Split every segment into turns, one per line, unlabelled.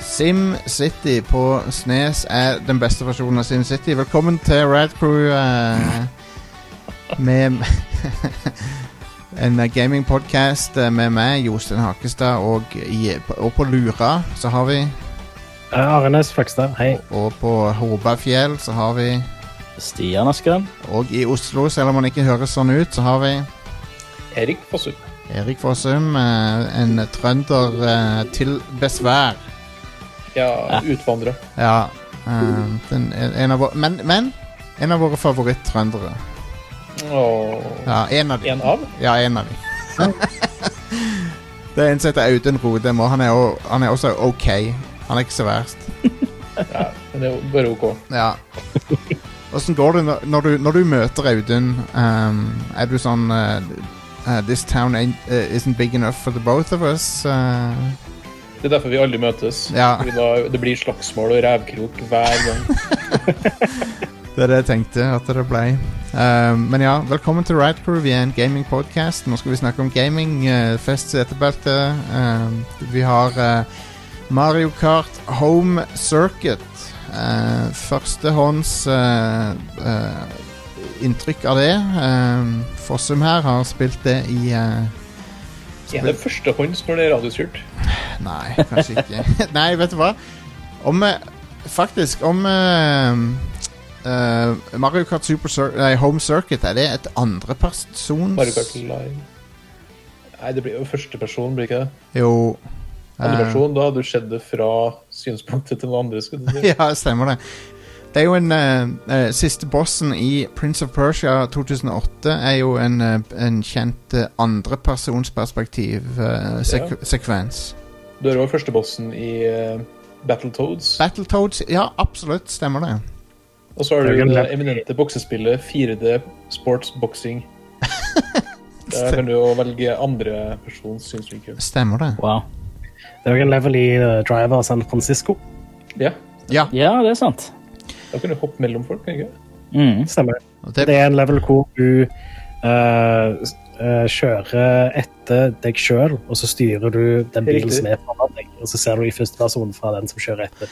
Sim City på Snes er den beste versjonen av Sim City. Velkommen til Rad Crew eh, med en gamingpodkast med meg, Jostein Hakestad, og, i, og på Lura så har vi
Arenes Fløgstad, hei.
Og på Håbafjell så har vi
Stian Askeland.
Og i Oslo, selv om han ikke høres sånn ut, så har vi
Erik Fossum.
Erik Fossum, eh, en trønder eh, til besvær.
Ja, utvandrer.
Ja. eh, den, en av våre, men, men en av våre favoritt-trøndere.
Og
Ja, en av de.
en av?
Ja, en av de. Det er en som heter Audun Rodem, og han er, jo- han er også OK. Han er ikke så verst.
Ja, men det er jo bare OK.
Ja. Åssen går det når- når du, når du møter Audun? ehm, er du sånn eh, eh, This town ain't, eh, isn't big enough for the both of us. eh,
Det er derfor vi aldri møtes.
Ja.
Fordi da, det blir slagsmål og revkrok hver gang.
det er det jeg tenkte at det ble. Ehm, men ja, velkommen til Ride Crew. Vi er en gaming podcast Nå skal vi snakke om gaming. eh, fest i etterbeltet. Ehm, vi har eh, Mario Kart Home Circuit. Eh, førstehånds eh, eh, inntrykk av det. Ehm, Fossum her har spilt det i eh,
Er det førstehånds når det er radiostyrt?
Nei, kanskje ikke. Nei, vet du hva? Om eh, Faktisk, om eh, eh, Mario Kart Super Cir nei, Home Circuit, er det et andrepersons
Mario Kart Live? Nei, det blir jo førsteperson, blir ikke det?
Jo. eh,
Andreperson, da hadde du sett det fra synspunktet til noen andre. skulle du si.
Eh, ja, stemmer det. Det er jo en eh, eh, Siste bossen i Prince of Persia 2008 er jo en, eh, en kjent eh, andrepersonsperspektiv-sekvens. eh, sekvens
Du er jo førstebossen i eh, Battletoads.
Battletoads Ja, absolutt. Stemmer det.
Og så har
Det er
du
jo en
det
lett-
eminente boksespillet 4D Sports Boxing. Der kan du jo velge andre persons synsvinkel.
Stemmer det.
Wow.
Det er jo en level i eh, Driver San Francisco.
Ja,
Ja.
Ja, det er sant.
da kan du hoppe mellom folk, kan du ikke?
Mm.
Stemmer det.
og Det,
Det er en level hvor du eh, s- eh, kjører etter deg sjøl, og så styrer du
Riktig.
den bilen som er foran deg, og så ser du i første person fra den som kjører etter.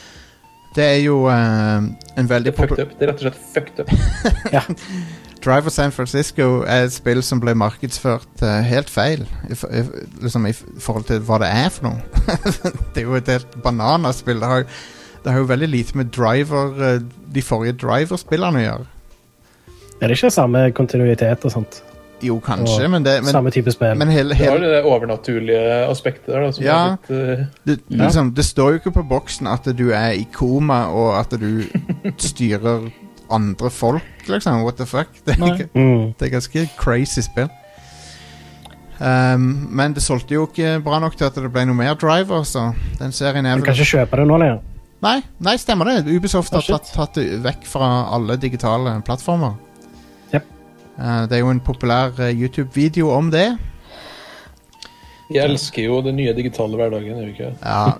det er jo eh, en
Det
veldig
er
populær
fucked up. Det er rett og slett fucked up.
Driver San Francisco er et spill som ble markedsført eh, helt feil. I, f- i, f- liksom i f- forhold til hva det er for noe. det er jo et helt bananaspill. Det har, det har jo veldig lite med driver, eh, de forrige driverspillene å gjøre.
Er det ikke samme kontinuitet og sånt?
Jo, kanskje,
Og
men, det, Eh, men,
samme type spill?
men hele,
Det har
hele,
jo det overnaturlige aspektet der, da, som
Ja.
er litt eh,
det,
Ja.
liksom, det står jo ikke på boksen at du er i koma, og at du styrer andre folk, liksom. What the fuck? Det er
Nei.
ikke,
Mm.
Det er ganske crazy spill. Ehm, men det solgte jo ikke bra nok til at det ble noe mer Driver, så den serien er
Du kan
vel
ikke kjøpe det nå lenger.
Nei, nei, stemmer det. Ubisoft har
Ah, shit.
tatt, tatt det vekk fra alle digitale plattformer.
Jep.
Eh, det er jo en populær eh, YouTube-video om det.
Jeg elsker jo den nye digitale hverdagen, gjør jeg ikke?
Ja.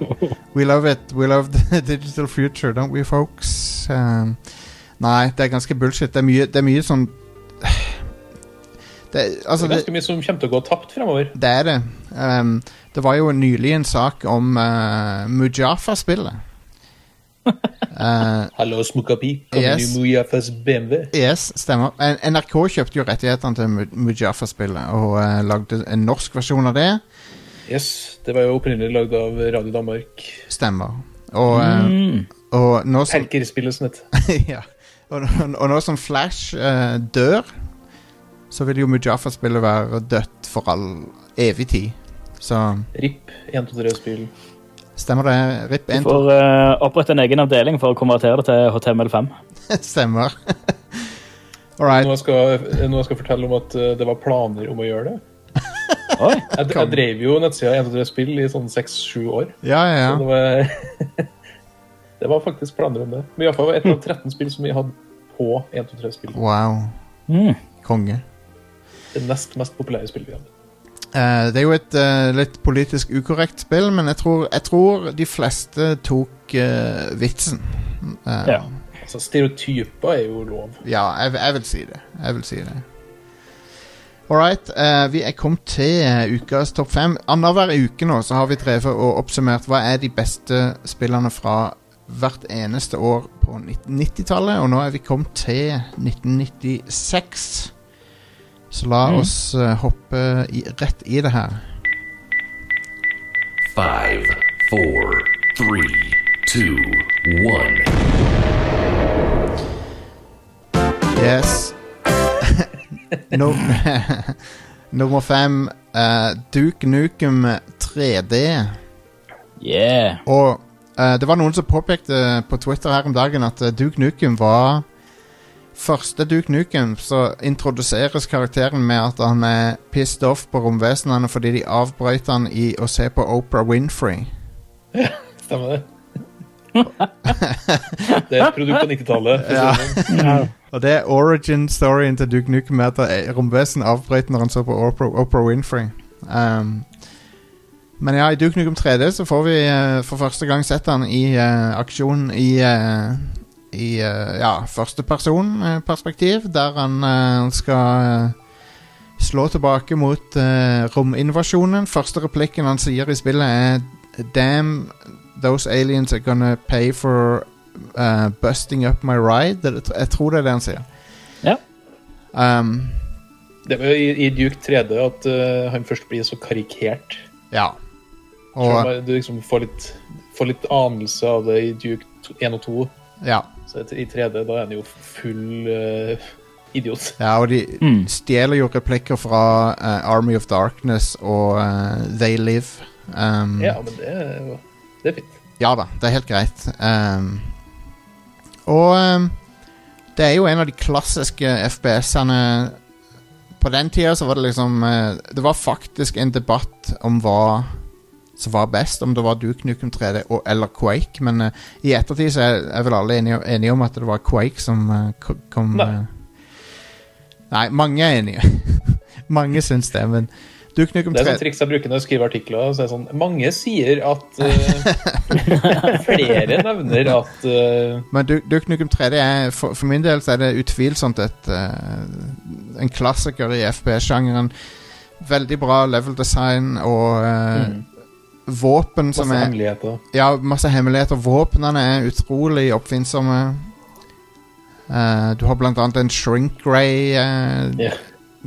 We love it. We love the digital future, don't we, folks? Ehm, nei, det er ganske bullshit. Det er mye, det er mye sånn det, er-
Det
altså,
er ganske mye som kommer til å gå tapt fremover.
Det er det. Ehm, det var jo nylig en sak om eh, Mujafa-spillet. Eh,
Hallo, Smukapi. Kommer
Yes.
du Mujafas BMW?
yes, stemmer. N- NRK kjøpte jo rettighetene til Mu- Mujafa-spillet og eh, lagde en norsk versjon av det.
Yes, det var jo opprinnelig lagd av Radio Danmark.
Stemmer. Og, eh,
Mm.
og nå som
Perker-spillet som het.
ja. og, nå- og nå som Flash eh, dør, så vil jo Mujafa-spillet være dødt for all evig tid. Så
RIP 123-spill.
stemmer det. Rip
Du
1,
får eh, opprette en egen avdeling for å konvertere det til HTML5.
stemmer. All right.
Nå skal nå skal jeg fortelle om at eh, det var planer om å gjøre det.
Oi.
Jeg, jeg drev jo nettsida 123 Spill i sånn seks-sju år.
Ja, ja, ja.
Så det, var, det var faktisk planer om det. Men iallfall var det ett av 13 spill som vi hadde på 123 Spill.
Wow.
Mm.
Konge.
Det nest mest populære spillet vi hadde.
Eh, det er jo et eh, litt politisk ukorrekt spill, men jeg tror, jeg tror de fleste tok eh, vitsen. Eh,
Ja.
Altså, Stereotyper er jo lov.
ja, jeg, jeg vil si det. Jeg vil si det. Alright, eh, vi er kommet til eh, ukas topp fem. Annenhver uke nå så har vi drevet og oppsummert hva er de beste spillene fra hvert eneste år på 90-tallet, og nå er vi kommet til 1996. Så la
Mhm.
oss eh, hoppe i, rett i det her.
Five, four, three, two, one.
Yes. Num Nummer fem eh, Duke Nukem 3D.
Yeah.
Og eh, det var noen som påpekte eh, på Twitter her om dagen at eh, Duke Nukem var Første Duke Nukem så introduseres karakteren med at han er pissed off på romvesenene fordi de avbrøt han i å se på Oprah Winfrey.
Stemmer det? Det er et produkt av 90-tallet. for
Ja.
sånn.
Og det er origin storyen til Duke Nukem er at eh, romvesen avbrøt når han så på Oprah, Oprah Winfrey. Um, men ja, i Duke Nukem 3D så får vi eh, for første gang sett han i eh, aksjon i, eh, i eh, ja, førstepersonperspektiv, der han eh, skal eh, slå tilbake mot eh, rominvasjonen. Første replikken han sier i spillet er Damn, those aliens are gonna pay for eh, busting up my ride. Det- Jeg tror det er det han sier.
Ja.
Um,
Det var jo i, i Duke 3D at eh, han først blir så karikert.
ja.
Selv om
Og,
jeg- du liksom får litt, får litt anelse av det i Duke 2 1 og 2.
ja.
Så i 3D da er han jo full eh, idiot.
ja, og de
Mm.
stjeler jo replikker fra eh, Army of Darkness og eh, They Live. Um,
Ja, men det er jo det er fint.
Ja da, det er helt greit. Ehm, og ehm, det er jo en av de klassiske FPS-ene På den tida så var det liksom eh, Det var faktisk en debatt om hva som var best, om det var Duke Nukem 3D og, eller Quake, men eh, i ettertid så er, er vel alle enige, enige om at det var Quake som eh, ko- kom
Nei.
eh, Nei, mange er enige. mange syns det, men Duke Nukem
Det er
3D
sånn triks jeg bruker når jeg skriver artikler. Så er det sånn, Mange sier at eh, Flere nevner at eh,
Men Du- Duke Nukem 3D er, for, for min del så er det utvilsomt et, eh, en klassiker i FP-sjangeren. Veldig bra level design og eh,
Mm.
våpen som
masse
er
hemmeligheter.
Ja, masse hemmeligheter. Våpnene er utrolig oppfinnsomme. Eh, du har blant annet en shrink ray eh,
Ja.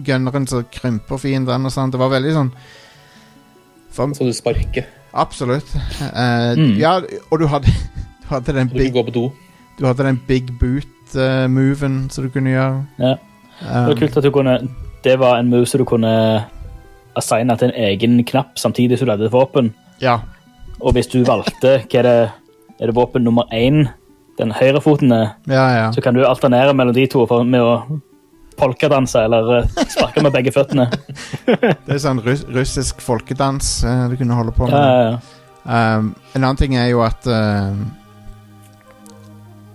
Gunneren som krymper fienden og sånn. Det var veldig sånn for,
Så du sparker.
Absolutt. Eh,
Mm.
Ja, og du hadde, du hadde den
Og du
big
kan gå på do.
du hadde den big boot-moven som du kunne gjøre.
Ja. Det var
Um,
kult at du kunne Det var en move som du kunne assigne til en egen knapp samtidig som du hadde et våpen.
ja,
Og hvis du valgte hva er det, er det våpen nummer én, den høyrefoten er,
ja, ja.
så kan du alternere mellom de to for, med å polkadanse eller eh, sparke med begge føttene.
Det er sånn russ russisk folkedans eh, du kunne holde på
Ja,
med.
ja, ja.
Um, en annen ting er jo at um,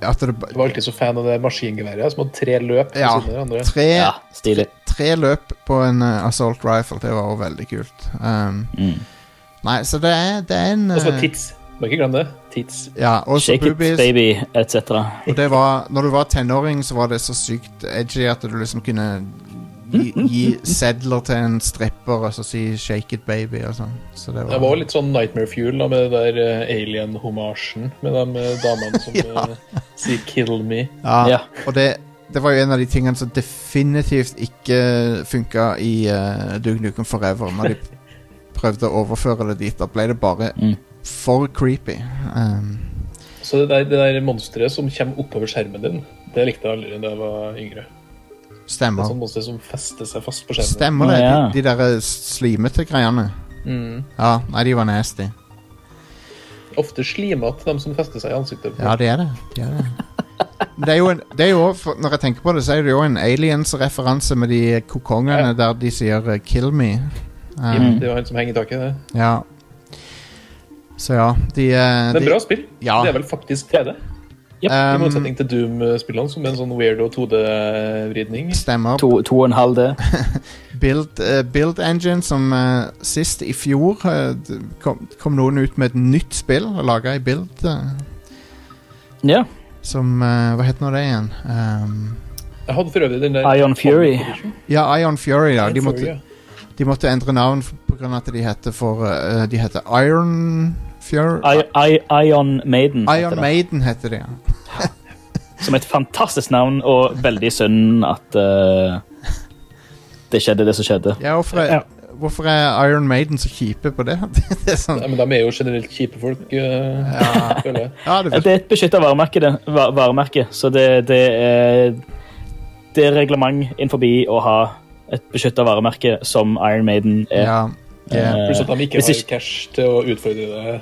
At det
Jeg var alltid så fan av det maskingeværet som hadde tre løp. ved
Ja.
siden av hverandre.
tre,
ja stilig.
tre løp på en eh, assault rifle, det var også veldig kult. Um,
Mm.
nei, så det er, det er en
Og så var
eh,
tits. Må ikke glemme det. Tits.
Ja, og så
Shake it,
boobies.
baby, etc.
Og det var, når du var tenåring, så var det så sykt edgy at du liksom kunne gi,
Mm,
gi sedler til en stripper og så si 'shake it, baby' og sånn. Så det
Det var
var
litt sånn Nightmare Fuel da, med det der eh, alien-homasjen. Med de eh, damene som
Ja.
eh, sier 'kill me'.
ja,
Ja.
Og det, det var jo en av de tingene som definitivt ikke funka i uh, Duke Nukem Forever. Når de prøvde å overføre det dit, da ble det bare
Mm.
for creepy. Um,
Så det der, det der monsteret som kommer oppover skjermen din, det likte jeg aldri da jeg var yngre. Det er
stemmer.
sånn monster som fester seg fast på skjermen.
Stemmer det,
Ja.
de, de der slimete greiene.
Mm.
Ja, nei, de var nasty.
Ofte slimete, de som fester seg i ansiktet. på.
Ja, det er det. Det er, det. Men det er jo en det er jo, for Når jeg tenker på det, så er det jo en aliens-referanse med de kokongene der de sier eh, 'kill me'. Eh,
Mm.
Det er jo han som henger i taket. Det.
ja. Så ja, de, eh,
Men
de
bra spill.
Ja.
Det er vel faktisk 3D. I
Um,
ehm,
motsetning til Doom-spillene, som er en sånn weirdo 2D-vridning.
Stemmer.
To, to og en halv D.
Build, eh, build Engine, som eh, sist i fjor eh, d- kom, kom noen ut med et nytt spill laga i Build, eh,
Ja.
som eh, Hva heter nå det igjen? Ehm,
Jeg hadde for øvrig den der
Ion Fury.
Ja, Ion Fury, ja. De
Ion Fury,
måtte,
ja.
de måtte endre navn pga. at de heter for eh, De heter Iron Fury
I, I, Ion Maiden. heter
Iron
det.
Maiden heter de, ja.
Som et fantastisk navn, og veldig synd at eh, det skjedde det som skjedde.
ja, hvorfor, er,
Ja.
hvorfor er Iron Maiden så kjipe på det? det er sånn,
Nei, men de er jo generelt kjipe folk, eh, føler jeg.
ja, det
Eh, Det
virker.
er et beskytta varemerke, det- va- varemerke, så det, det er Det er reglement innenfor å ha et beskytta varemerke som Iron Maiden er. eh,
Ja, ja.
Pluss at de ikke
Hvis
har
ikke-
cash til å utfordre det.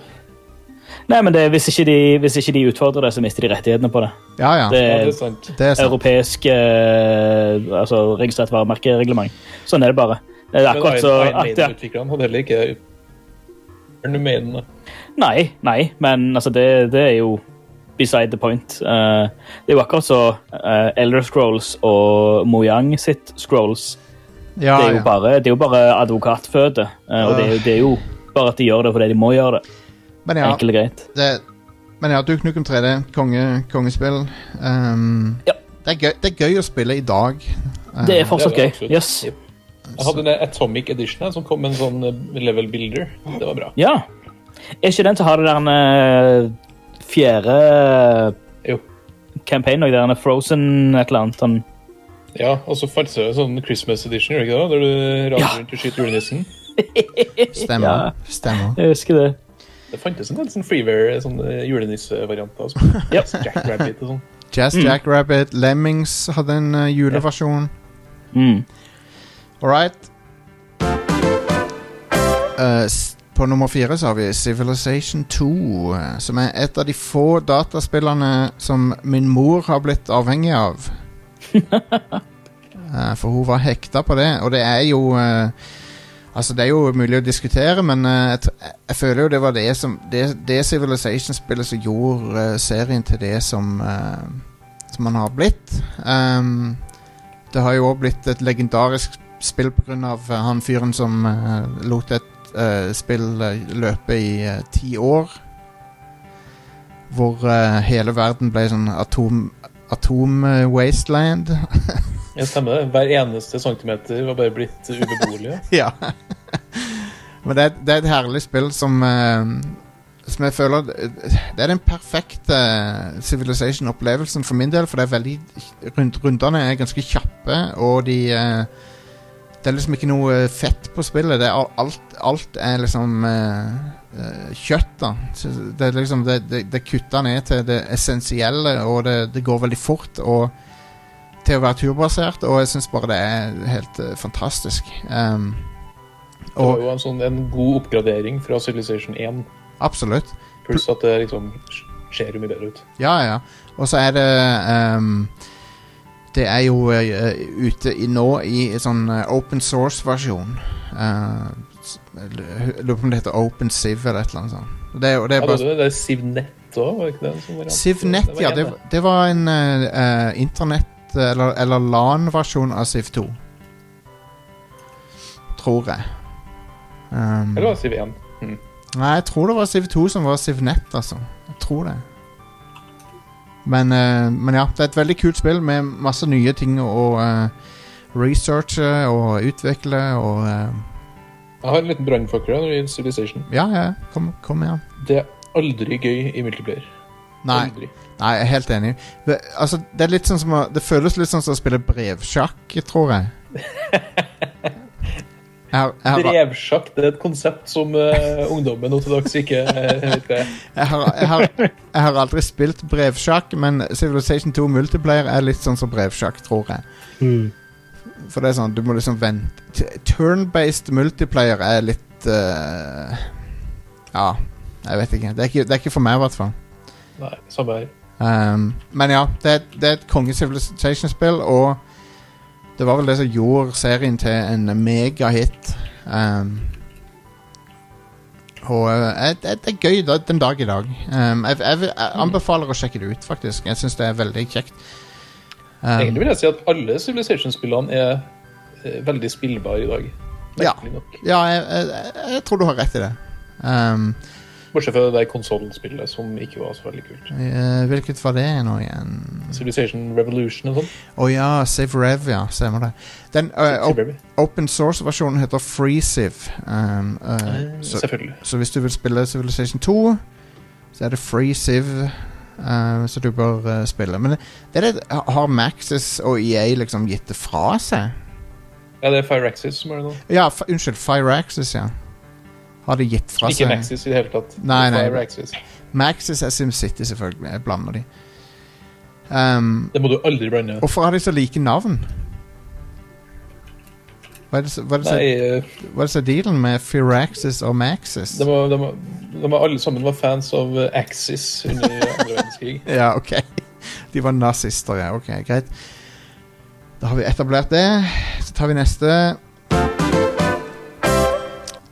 Nei, men det, hvis, ikke de, hvis ikke de utfordrer det, så mister de rettighetene på det.
ja, ja.
Det
Det,
Ja, det
er
er sant.
er sånn- sant.
europeisk eh, altså registrert varemerkereglement. Sånn er det bare. Det er
Men
akkurat så
Iron
at, ja.
Maiden-utviklerne hadde heller ikke Iron Maiden. da.
Nei, nei, men altså, det, det er jo beside the point. Eh, det er jo akkurat så eh, Elder Scrolls og Mojang sitt Scrolls.
Ah, Ja,
det, er jo
ja.
bare, det er jo bare advokatføde, eh, og det er, jo, det er jo bare at de gjør det fordi de må gjøre det.
Men ja,
Enkelt og greit.
det, men ja Duke Nukem 3D, konge, kongespill. Ehm,
Ja.
det, er gøy, det er gøy å spille i dag. Eh,
Det er fortsatt
det er
gøy.
det absolutt.
Yes.
Jep. Jeg hadde den Atomic Edition her, som kom med en sånn eh, level builder. Det var bra.
Ja. Er ikke den som har det der en, eh, fjerde eh,
Jo.
campaign, og det der en Frozen et eller annet? Sånn.
Ja, og så fantes det jo en sånn Christmas Edition, gjorde det ikke det? Der du raser
Ja.
rundt og skyter julenissen.
Stemmer.
Ja.
stemmer.
Jeg husker det.
Det fantes en del sånn freeware, sånn eh, julenissevarianter. Altså.
Ja.
Jack Rabbit og sånn.
Jazz Jackrabbit, Lemmings hadde en eh, juleversjon.
Mm.
All right. Eh, s- på nummer fire så har vi Civilization 2, eh, som er et av de få dataspillene som min mor har blitt avhengig av. Eh, for hun var hekta på det, og det er jo eh, Altså, det er jo mulig å diskutere, men eh, jeg, tr- jeg føler jo det var det som Det, det Civilization-spillet som gjorde eh, serien til det som eh, Som man har blitt. Ehm, det har jo òg blitt et legendarisk spill pga. han fyren som eh, lot et eh, spill eh, løpe i eh, ti år. Hvor eh, hele verden ble sånn atom... eh, Atom-wasteland.
Ja, stemmer det. Hver eneste centimeter var bare blitt ubeboelig.
ja. Men det er, det er et herlig spill som eh, Som jeg føler eh, Det er den perfekte eh, Civilization-opplevelsen for min del, for det er veldig rund, Rundene er ganske kjappe, og de eh, Det er liksom ikke noe fett på spillet. Det er al- alt, alt er liksom eh, eh, kjøtt, da. Så det er liksom Det, det, det kutta ned til det essensielle, og det, det går veldig fort. og til å være turbasert, og jeg syns bare det er helt eh, fantastisk. Um,
Det
og
var jo en, sånn, en god oppgradering fra Civilization 1,
absolutt.
pluss at det liksom ser jo mye bedre ut.
Ja, ja. Og så er det ehm, Det er jo eh, ute i nå i en sånn eh, open source-versjon. Eh, s- jeg Lurer på om det heter Open Civ eller et eller annet sånt. Og Det, er jo- det er
Ja, det,
bare
var det, det er Sivnet òg, var det ikke det? som var-
Sivnet, ja.
en,
Det, det var en eh, eh, internett- eller, eller LAN-versjon av Siv 2. Tror jeg. Um,
Eller var det Siv 1? Mm.
Nei, jeg tror det var Siv 2 som var Sivnet, altså. Jeg tror det. Men, eh, men ja, det er et veldig kult spill med masse nye ting å eh, researche og utvikle og eh,
Jeg har en liten brannfakkel når det gjelder Civilization.
Ja, ja, kom, kom igjen.
Det er aldri gøy i multiplayer.
Nei.
Aldri.
Nei, jeg er helt enig. Det, altså, det, er litt sånn som å, det føles litt sånn som å spille brevsjakk, tror jeg. jeg, har, jeg, har,
Brevsjakk det er et konsept som eh, ungdommen nå til dags ikke eh, vet hva er.
jeg, har, jeg, har, jeg har aldri spilt brevsjakk, men Civilization 2 Multiplayer er litt sånn som brevsjakk, tror jeg.
Mm.
For det er sånn, du må liksom vente T- Turn-based multiplayer er litt eh, Ja, jeg vet ikke. Det er ikke, det er ikke for meg, i hvert fall.
Nei, samme her.
Um, men ja, det er, det er et konge Civilization-spill, og det var vel det som gjorde serien til en megahit. Um, og eh, det, det er gøy da, den dag i dag. Um, jeg, jeg, vil- jeg anbefaler å sjekke det ut, faktisk. Jeg syns det er veldig kjekt. Um,
Egentlig vil jeg si at alle Civilization-spillene er eh, veldig spillbare i dag.
Ja.
Merkelig nok.
ja, jeg, jeg, jeg tror du har rett i det. Um,
Bortsett fra det der konsollspillet, som ikke var så veldig kult.
Eh, hvilket var det nå igjen?
Civilization Revolution og sånn.
Å ja, Save Rev, ja. Stemmer det. Den eh,
Tipsy
op
Baby.
open source-versjonen heter FreeSiv. Um, eh,
Eh,
så,
Selvfølgelig.
så hvis du vil spille Civilization 2, så er det FreeSiv uh, som du bør eh, spille. Men det, det er det, har Maxis og EA liksom gitt det fra seg?
Ja, det er Firaxis som er det nå.
Ja, f unnskyld. Fireaxis, ja. Har de gitt fra
Ikke
seg
Maxis i det hele tatt.
Nei, nei.
Firaxis.
Maxis er SimCity, selvfølgelig. Jeg blander de. Um,
Det må du aldri blande.
hvorfor har de så like navn? Hva er det som- hva er det som-
Nei, eh,
hva er det som er dealen med Firaxis og Maxis?
de var, de, var, de var alle sammen var fans av eh, Axis under andre verdenskrig.
Ja, ok. De var nazister, ja. Ok, greit. Da har vi etablert det. Så tar vi neste.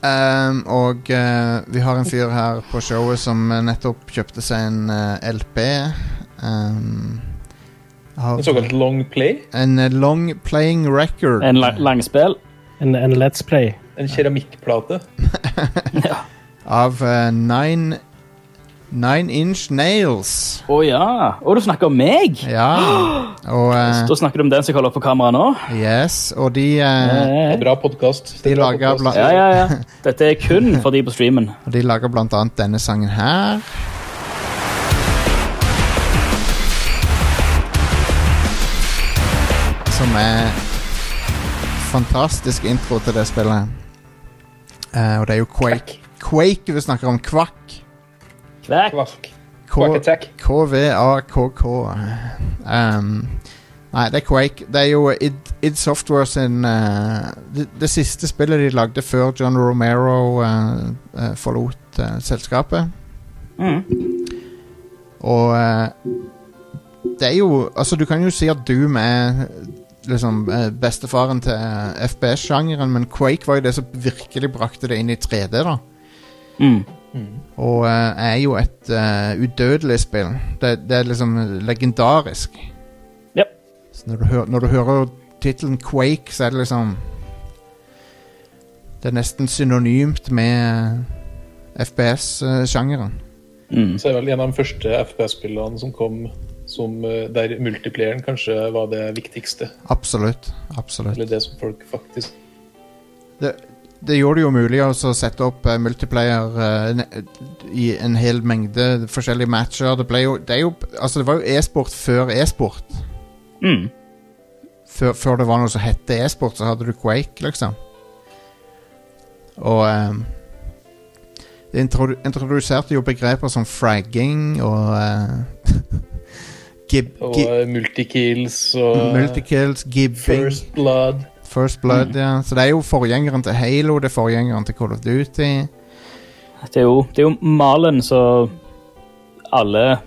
Ehm, og eh, vi har en fyr her på showet som eh, nettopp kjøpte seg en eh, LP. Ehm, har,
En såkalt long play.
en eh, long playing record.
En la- langspill.
En, en Let's Play.
En keramikkplate.
Av eh, nine, nine Inch Nails.
Å ja. Å, du snakker om meg?
Ja. Og eh,
Da snakker du om den som holder på kameraet nå?
Yes. Og de, eh,
Det er
Ja,
Bra podkast.
De lager bla-
ja, ja. Dette er kun for de på streamen.
og de lager blant annet denne sangen her. Som er fantastisk intro til det spillet. Eh, og det er jo Quake. Quake vi snakker om. Kvakk.
Kvakk.
Kvask.
K-
Quack-attack.
KVAKK. Um, nei, det er Quake. Det er jo id, id Software sin eh, det, det siste spillet de lagde før John Romero eh, eh, forlot eh, selskapet.
Mm.
Og eh, det er jo Altså, du kan jo si at Doom er liksom eh, bestefaren til uh, FPS-sjangeren, men Quake var jo det som virkelig brakte det inn i 3D, da.
Mm.
Og eh, er jo et eh, udødelig spill. Det, det er liksom legendarisk.
Ja.
Så når du, hø når du hører tittelen Quake, så er det liksom Det er nesten synonymt med eh, FPS-sjangeren.
Mm.
Så er det vel en av de første FPS-spillene som kom som, eh, der multiplayeren kanskje var det viktigste.
Absolutt. Absolutt.
Eller det som folk faktisk
Det, det gjorde det jo mulig å så sette opp eh, multiplayer eh, ne- i en hel mengde forskjellige matcher. Det, ble jo, det, er jo, altså det var jo e-sport før e-sport.
Mm.
før, før det var noe som hette e-sport, så hadde du Quake, liksom. Og ehm, det introdu introduserte jo begreper som fragging og eh, gib,
Og
gi-
eh, multikills
eh,
og
Multikills, gibbing, first,
First Blood.
blood,
Mm.
ja. Så det er jo forgjengeren til Halo, det er forgjengeren til Call of Duty.
Det, er jo, det er jo malen som alle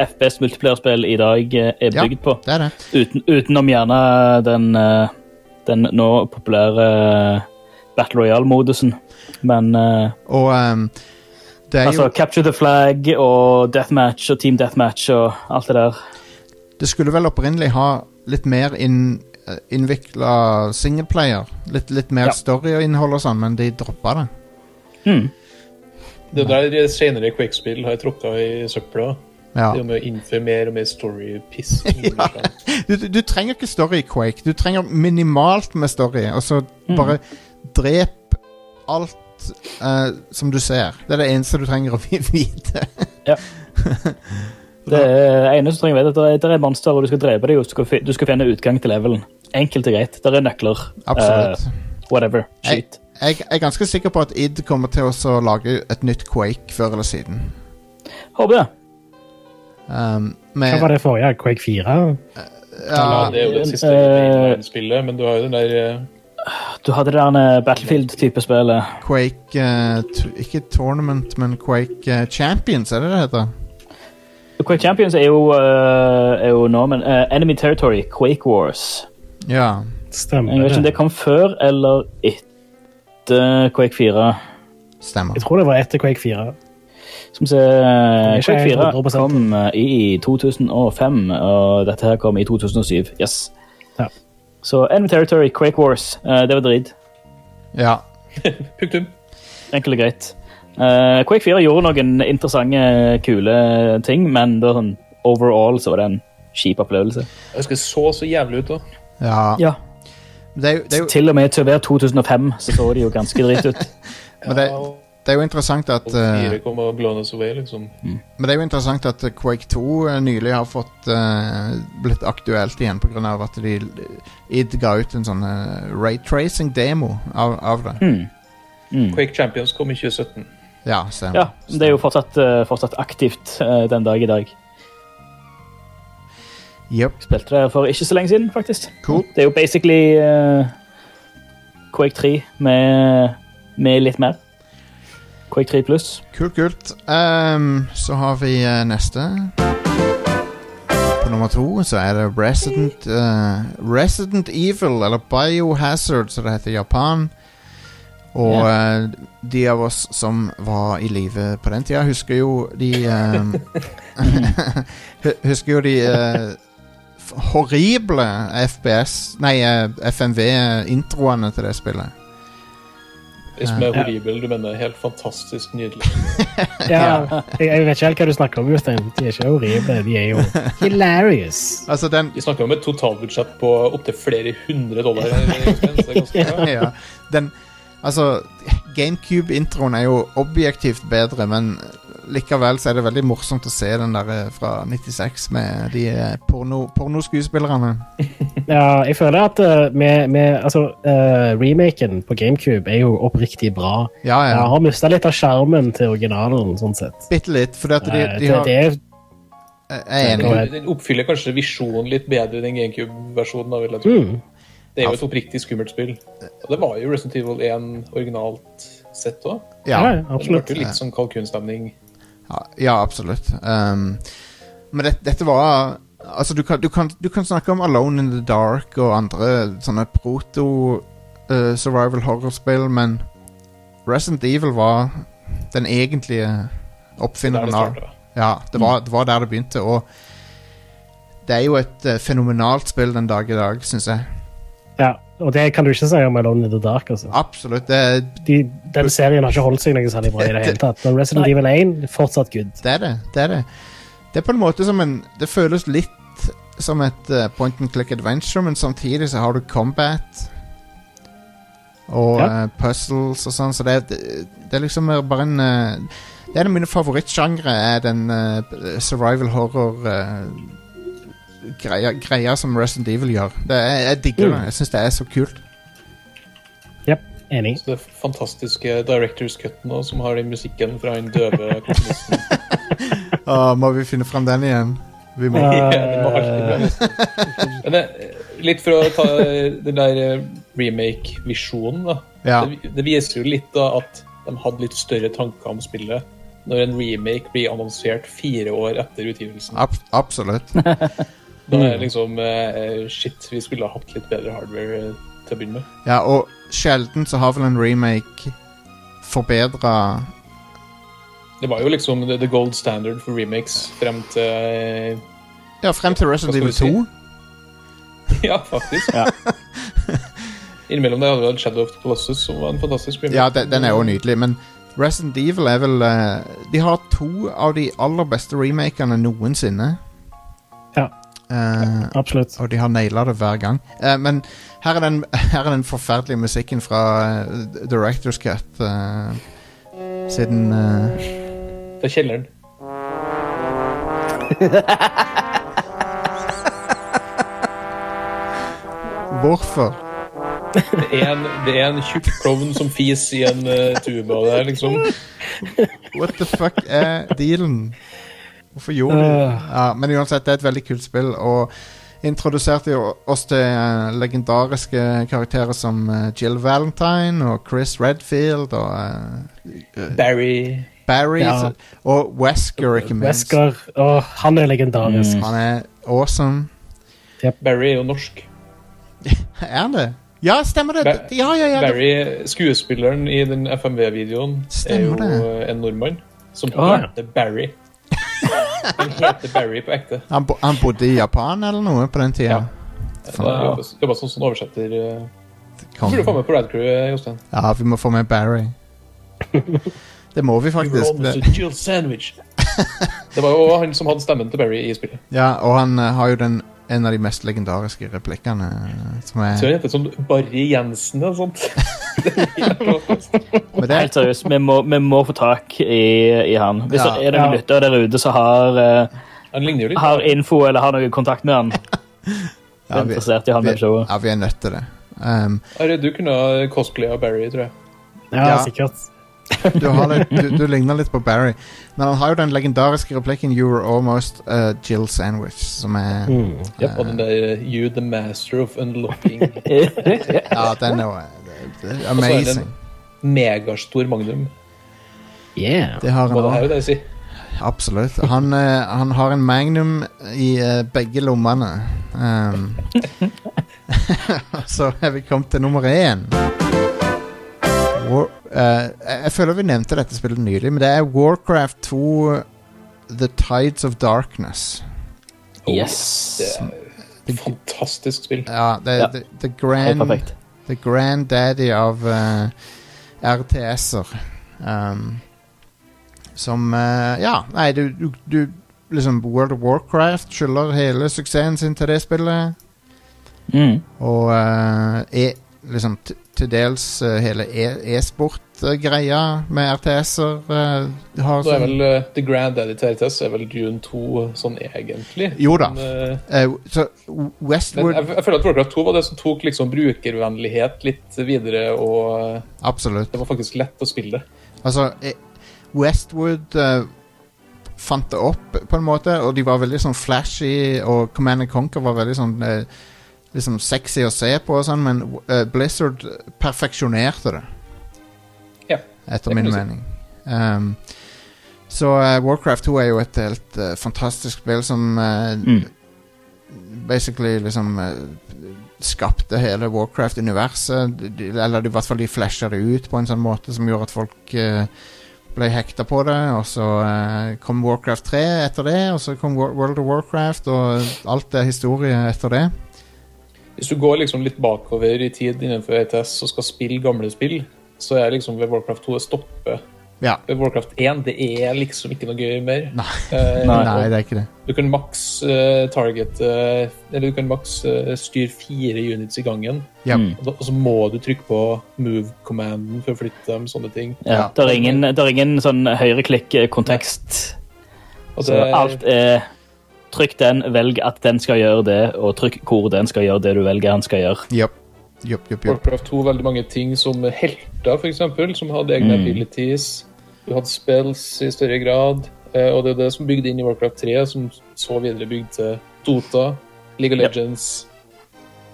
FPS multiplierspill i dag eh, er
Ja.
bygd på.
Det er det.
Uten, utenom gjerne den, eh, den nå populære eh, Battle Royale-modusen. Men eh,
Og ehm, det er
altså
jo
Capture the Flag og Deathmatch og Team Deathmatch og alt det der.
Det skulle vel opprinnelig ha litt mer inn, eh, innvikla singleplayer. Litt, litt mer
Ja.
story og innhold og sånn, men de droppa det.
Mm.
Det er der senere Quake-spill har tråkka i søpla.
Ja.
Det er jo med å innføre mer og mer story-piss. sånn.
du, du- du trenger ikke story i Quake. Du trenger minimalt med story, og så bare drep alt eh, som du ser. Det er det eneste du trenger å vi- vite.
Det er- eneste du trenger å vite, er at det er monstre, og du skal drepe dem. og Du skal, fi- du skal finne utgang til levelen. Enkelt og greit. Der er nøkler.
Absolutt.
Eh, whatever. Skyt.
Jeg, jeg er ganske sikker på at ID kommer til å så lage et nytt Quake før eller siden.
Håper det.
Um,
Hva
med,
var det forrige? Quake 4?
Ja,
ja,
det er jo det siste
Eh,
spillet, men du har jo den der eh,
Du hadde det der eh, Battlefield-type spillet.
Quake eh, t Ikke Tournament, men Quake eh, Champions, er det det heter?
Quake Champions er jo, eh, er jo nå, men eh, Enemy Territory, Quake Wars.
Ja.
Jeg
Stemmer
vet ikke om
det?
det kom før eller etter Quake 4.
Stemmer.
Jeg tror det var etter Quake 4.
Skal vi se eh,
er ikke
Quake
helt
4
100%.
kom eh, i 2005, og dette her kom i 2007. Yes.
Ja.
Så Enemy Territory, Quake Wars, eh, det var drit.
Ja.
Punktum.
Enkelt og greit. Eh, Quake 4 gjorde noen interessante, kule ting, men det var sånn, overall så var det en kjip opplevelse.
Jeg husker det så så jævlig ut, da.
Ja. Det, er jo, det, er jo,
Til og med til å være 2005 så så det jo ganske drit ut.
men, det,
Ja, og
det er jo interessant at eh,
fire kom og blown us away, liksom.
Men det er jo interessant at Quake 2 nylig har fått eh, blitt aktuelt igjen pga. at de id ga ut en sånn eh, raytracing-demo av, av det.
Mm. Mm.
Quake Champions kom i 2017.
Ja, stemmer.
Ja, men det er jo fortsatt, eh, fortsatt aktivt eh, den dag i dag.
Jep.
Spilte det for ikke så lenge siden, faktisk.
Cool.
Det er jo basically eh, Quake 3 med, med litt mer. Quake 3 pluss.
Kult, kult. Ehm, så har vi eh, neste. På nummer to så er det Resident, eh, Resident Evil, eller Biohazard, som det heter i Japan. Og eh, de av oss som var i live på den tida, husker jo de ehm, hu- Husker jo de eh, f- horrible FBS Nei, eh, FMV-introene eh, til det spillet.
Det som er horribel, du mener helt fantastisk nydelig.
Ja, jeg, jeg vet ikke helt hva du snakker om, Jostein. De er ikke horrible, de er jo hilarious.
Altså, den
Vi snakker om et totalbudsjett på opptil flere hundre dollar. Øystein, så det er ganske bra.
ja. Den, altså, GameCube-introen er jo objektivt bedre, men likevel så er det veldig morsomt å se den der eh, fra 96 med de eh, porno, pornoskuespillerne.
Ja, jeg føler at eh, med, med altså, eh, remaken på GameCube er jo oppriktig bra.
Ja, ja.
Jeg har mista litt av sjarmen til originalen, sånn sett.
Bitte litt, fordi at de,
Eh,
de
det,
har
det er
Jeg er enig.
Nei.
Den- Den oppfyller kanskje visjonen litt bedre i den GameCube-versjonen. da, vil jeg tro.
mm,
Det er jo et oppriktig skummelt spill. Og det var jo Resident Evil 1 originalt sett òg.
Ja,
ja,
Det ble
absolutt.
jo litt sånn kalkunstemning.
ja, ja absolutt. Um, men det, dette var Altså, du kan, du, kan, du kan snakke om Alone in the Dark og andre sånne proto-survival horror-spill, men Resident Evil var den egentlige
Der det
oppfinneren av
startet.
Ja, det var, det var der det begynte, og det er jo et eh, fenomenalt spill den dag i dag, syns jeg.
Ja, og det kan du ikke si om Alone in the Dark. altså.
Absolutt. Det,
De, den serien har ikke holdt seg noe særlig bra i det hele tatt. Men Resident Evil 1 fortsatt good.
det er det. Det er det. Det er på en måte som en Det føles litt som et eh, point and click adventure, men samtidig så har du combat og
Ja.
eh, puzzles og sånn, så det, er- det, det er liksom mer bare en eh, Det er en av mine favorittsjangre, er den eh, survival horror eh, greia, greia som Resident Evil gjør. Det er, jeg digger det. Jeg syns det er så kult.
Yep, enig.
Så det fantastiske Directors Cut-en også, som har den musikken fra den døve komponisten.
Åh, Ah, må vi finne fram den igjen? Vi må.
Ja,
Ja.
den må alltid bli nesten. Men det, litt for å ta den der eh, remake-visjonen, da.
Ja.
Det, det viser jo litt da at de hadde litt større tanker om spillet når en remake blir annonsert fire år etter utgivelsen.
Ab absolutt.
Da er det liksom eh, Shit, vi skulle ha hatt litt bedre hardware eh, til å begynne med.
Ja, og sjelden så har vel en remake forbedra
Det var jo liksom the, the gold standard for remakes frem til eh,
Ja, frem til Resident Evil
Hva
2.
skal vi Ja, faktisk. Innimellom der hadde vi hatt Shadow of the Colossus, som var en fantastisk remake.
Ja, de- den er jo nydelig, men Resident Evil er vel eh, De har to av de aller beste remakene noensinne.
Ja.
Eh,
Absolutt.
og de har naila det hver gang. Eh, men her er, den, her er den forferdelige musikken fra eh, Directors Cut eh, siden eh,
Til kjelleren.
Hvorfor?
Det er en, det er en tjukk klovn som fis i en eh, tuba der, liksom.
What the fuck er dealen? Hvorfor gjorde de det?
Øh.
Ja, men uansett, det er et veldig kult spill, og introduserte jo oss til eh, legendariske karakterer som eh, Jill Valentine og Chris Redfield og eh,
Barry
Barry
Ja.
så- og Wesker, ikke minst.
Wesker, åh, han er
Mm.
legendarisk.
Han er awesome.
Barry er jo norsk.
Er han det? Ja, stemmer det!
Ba-
Ja, ja, ja. det-
Barry, skuespilleren i den FMV-videoen, er jo
Stemmer det.
eh, en nordmann som
Ah.
heter Barry. Han heter Barry på ekte.
Han, bo han bodde i Japan eller noe på den tida.
Ja. Jobba jobba som sånn oversetter. eh.
Kongen.
Burde du få med på Radcrew, Jostein.
Ja, vi må få med Barry. Det må vi
You were
faktisk.
almost
Det,
a Jill sandwich. Det var jo han som hadde stemmen til Barry i spillet.
ja, og han eh, har jo den, en av de mest legendariske replikkene, eh, som
Så
er
han heter sånn Barry Jensen eller sånt.
Men det,
Helt seriøst, vi må, vi må få tak i, i han. Hvis
Ja.
det er noen
Ja.
lyttere der ute som har, eh,
Han ligner jo litt.
har info eller har noe kontakt med han,
ja,
er
vi,
interessert i han
vi,
med showet.
ja, vi er nødt til det. Um,
Are, du kunne ha cosplaya Barry, tror jeg.
Ja,
Mm. Ja.
sikkert.
du, har litt, du, du ligner litt på Barry. Men han har jo den legendariske replikken 'You were almost a Jill sandwich', som er
Mm.
Ja, og den der eh, You the master of unlocking
Ja, den er eh, det- det er
er det
amazing.
megastor magnum.
Yeah.
Det har han
Hva det
også.
er jo det jeg sier.
Absolutt. Han, eh, han har en magnum i eh, begge lommene. Um, så er vi kommet til nummer én. War, eh, jeg jeg føler vi nevnte dette spillet nylig, men det er Warcraft 2 The Tides of Darkness.
Yes.
Fantastisk spill.
Ja, det,
Ja.
The, the
Helt
Grand
perfekt.
The granddaddy av eh, RTS-er. Um, som eh, Ja, nei, du, du, du Liksom World of Warcraft skylder hele suksessen sin til det spillet.
Mm.
Og eh, e, liksom t- til dels eh, hele e- e-sport-greia med RTS-er eh, har
Nå er
sånn
vel eh, The Grand Daddy TRTS er vel Dune 2 sånn egentlig.
Jo da.
Men, eh,
eh, Så
men eh, jeg,
Westwood
jeg føler at Warcraft 2 var det som tok liksom brukervennlighet litt videre, og eh,
Absolutt.
det var faktisk lett å spille.
Altså, eh, Westwood eh, fant det opp på en måte, og de var veldig sånn flashy, og Command and Conquer var veldig sånn eh, liksom sexy å se på og sånn, men eh, Blizzard perfeksjonerte det.
Ja,
Etter
det kan
min
du si.
mening. Um, så eh, Warcraft 2 er jo et helt eh, fantastisk spill som eh,
Mm.
basically liksom eh, skapte hele Warcraft-universet. De- de- Eller i hvert fall de flasha det ut på en sånn måte som gjorde at folk eh, ble hekta på det. Og så eh, kom Warcraft 3 etter det, og så kom Wor- World of Warcraft, og alt er historie etter det.
Hvis du går liksom litt bakover i tid innenfor ETS og skal spille gamle spill, så er liksom ved Warcraft 2 å stoppe.
Ja.
Ved Warcraft 1 det er liksom ikke noe gøy mer.
Nei.
Eh,
Nei,
Nei.
det er ikke det.
Du kan maks eh, target eh, Eller du kan maks eh, styre fire units i gangen.
Ja.
Mm.
Og, da, og så må du trykke på move-commanden for å flytte dem, sånne ting.
Ja. Det er ingen, det er ingen sånn høyreklikk-kontekst.
Altså,
Så alt er Trykk den, velg at den skal gjøre det, og trykk hvor den skal gjøre det du velger han skal gjøre.
Jopp. Jopp, jopp, jopp.
Warcraft 2 veldig mange ting som helter, for eksempel, som hadde egne abilities. Du hadde spells i større grad, eh, og det er det som bygde inn i Warcraft 3, som så videre bygde til Dota, League of
Ja.
Legends,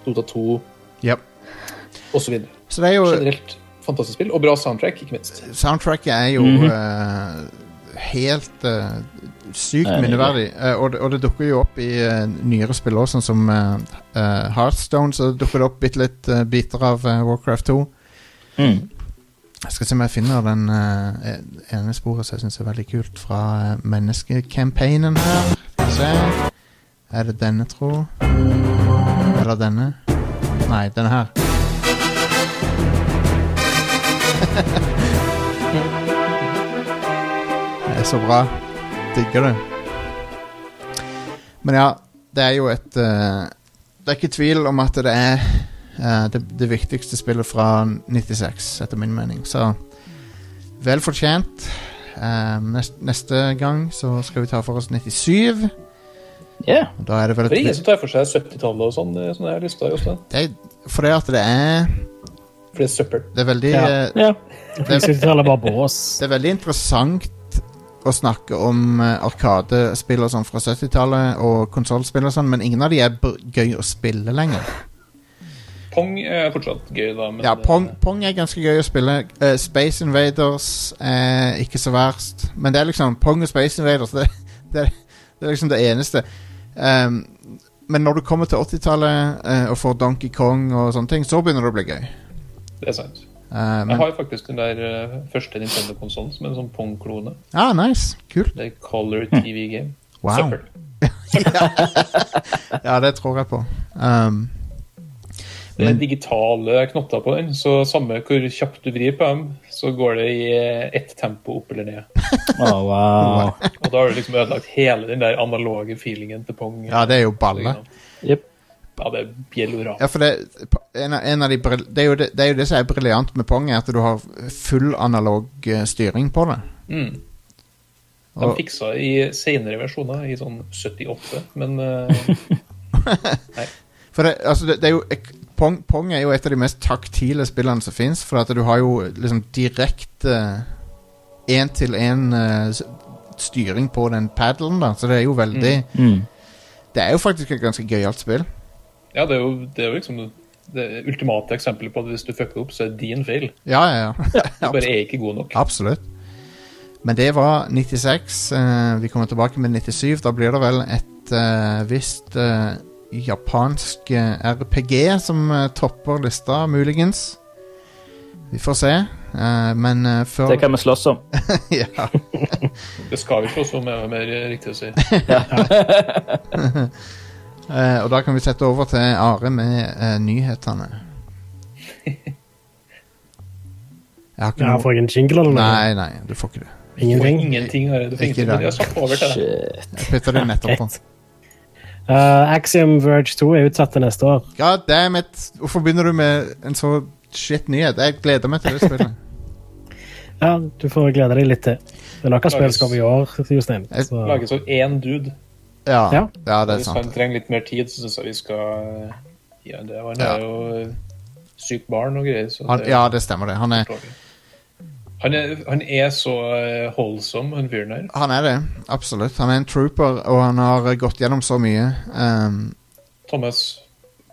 Dota 2
Jopp.
osv.
Så det er jo
Generelt fantastisk spill, og bra soundtrack, ikke minst.
Soundtracket er jo eh, helt eh, sykt
Ja, det er
minneverdig. Eh, og, det- og det dukker jo opp i eh, nyere spill også, sånn som eh, eh, Hearthstone. Så dukker det opp bitte litt eh, biter av eh, Warcraft 2.
Mm.
Jeg skal se om jeg finner den eh, ene sporet som jeg syns er veldig kult, fra eh, menneskekampanjen her. Skal vi se. Er det denne, tro? Eller denne? Nei, denne her. det er så bra. Digger det. Men ja, det er jo et eh, Det er ikke tvil om at det er Eh, det, det viktigste spillet fra 96, etter min mening. Så vel fortjent. Eh, nest, neste gang så skal vi ta for oss 97.
Yeah.
og Da er det vel
Det er ingen
et
som tar for seg 70-tallet og sånn, eh, sånn jeg har lyst til å gjøre,
det er, Fordi at det er
for det er søppel.
Det er veldig,
Ja.
eh,
Ja.
Jeg synes det er bare bås.
det er veldig interessant å snakke om eh, arkadespill og sånn fra 70-tallet og konsollspill og sånn, men ingen av de er b gøy å spille lenger.
Pong er fortsatt gøy, da. Men
Ja, Pong, Pong er ganske gøy å spille. Eh, Space Invaders er ikke så verst. Men det er liksom Pong og Space Invaders, det, det, det er liksom det eneste. Ehm, men når du kommer til 80-tallet eh, og får Donkey Kong og sånne ting, så begynner det å bli gøy.
Det er sant.
Eh,
Jeg
men,
har faktisk den der eh, første Nintendo-konsollen som er en sånn Pong-klone.
ah, nice. Kult.
Det er Color TV Game.
Wow.
Søppel.
ja, det tror jeg på. Ehm,
Det er digitale knotter på den, så samme hvor kjapt du vrir på dem, så går det i ett tempo opp eller ned.
Å, wow.
Og da har du liksom ødelagt hele den der analoge feelingen til Pong.
Ja, det er jo balle.
Jep.
Ja, det er bjellora.
Ja, for det, en av, en av de, brill- det, er jo det, det er jo det som er briljant med Pong, er at du har full analog eh, styring på det.
Mm. De
Og,
fiksa i senere versjoner, i sånn 78, men eh,
for det, altså, det, det er jo ek- Pong, Pong er jo et av de mest taktile spillene som fins, for at du har jo liksom direkte eh, én-til-én styring på den paddelen, da, så det er jo veldig
Mm.
Det er jo faktisk et ganske gøyalt spill.
ja, det er jo, det er jo liksom det ultimate eksempelet på at hvis du fucker opp, så er det din feil.
Ja, ja, ja.
Du bare er ikke god nok.
Absolutt. Men det var 96. eh, vi kommer tilbake med 97. Da blir det vel et eh, visst eh, japansk eh, RPG som eh, topper lista, muligens. Vi får se. Eh, men eh, før
Det kan vi slåss om.
ja.
Det skal vi ikke også, om jeg er mer riktig å si.
Eh, Og da kan vi sette over til Are med eh, nyhetene. Jeg har ikke
Ja,
noe
får jeg en jingle eller noe?
Nei, nei, du får ikke det.
Ingenting?
Ingenting har jeg, du får
Ikke i
ingenting,
dag.
men jeg har sagt over til deg.
Shit.
Jeg putter det nettopp på.
Greit. Eh, Axiom Verge 2 er utsatt til neste år.
God damn it! Hvorfor begynner du med en så shit nyhet? Jeg gleder meg til det spillet.
Ja, Du får glede deg litt til. Det er nok av spill som kommer i år. Jostein. Så-
Lages av én dude.
Ja, ja.
Ja.
det er
Hvis han
sant.
trenger litt mer tid, så syns jeg vi skal gi ham det. Og han
Ja.
er jo sykt barn og greier. Så
Han,
det-
ja, det stemmer det. Han er,
han, er, han er så eh, holdsom, han fyren her.
han er det. Absolutt. Han er en trooper, og han har eh, gått gjennom så mye. Um,
Thomas,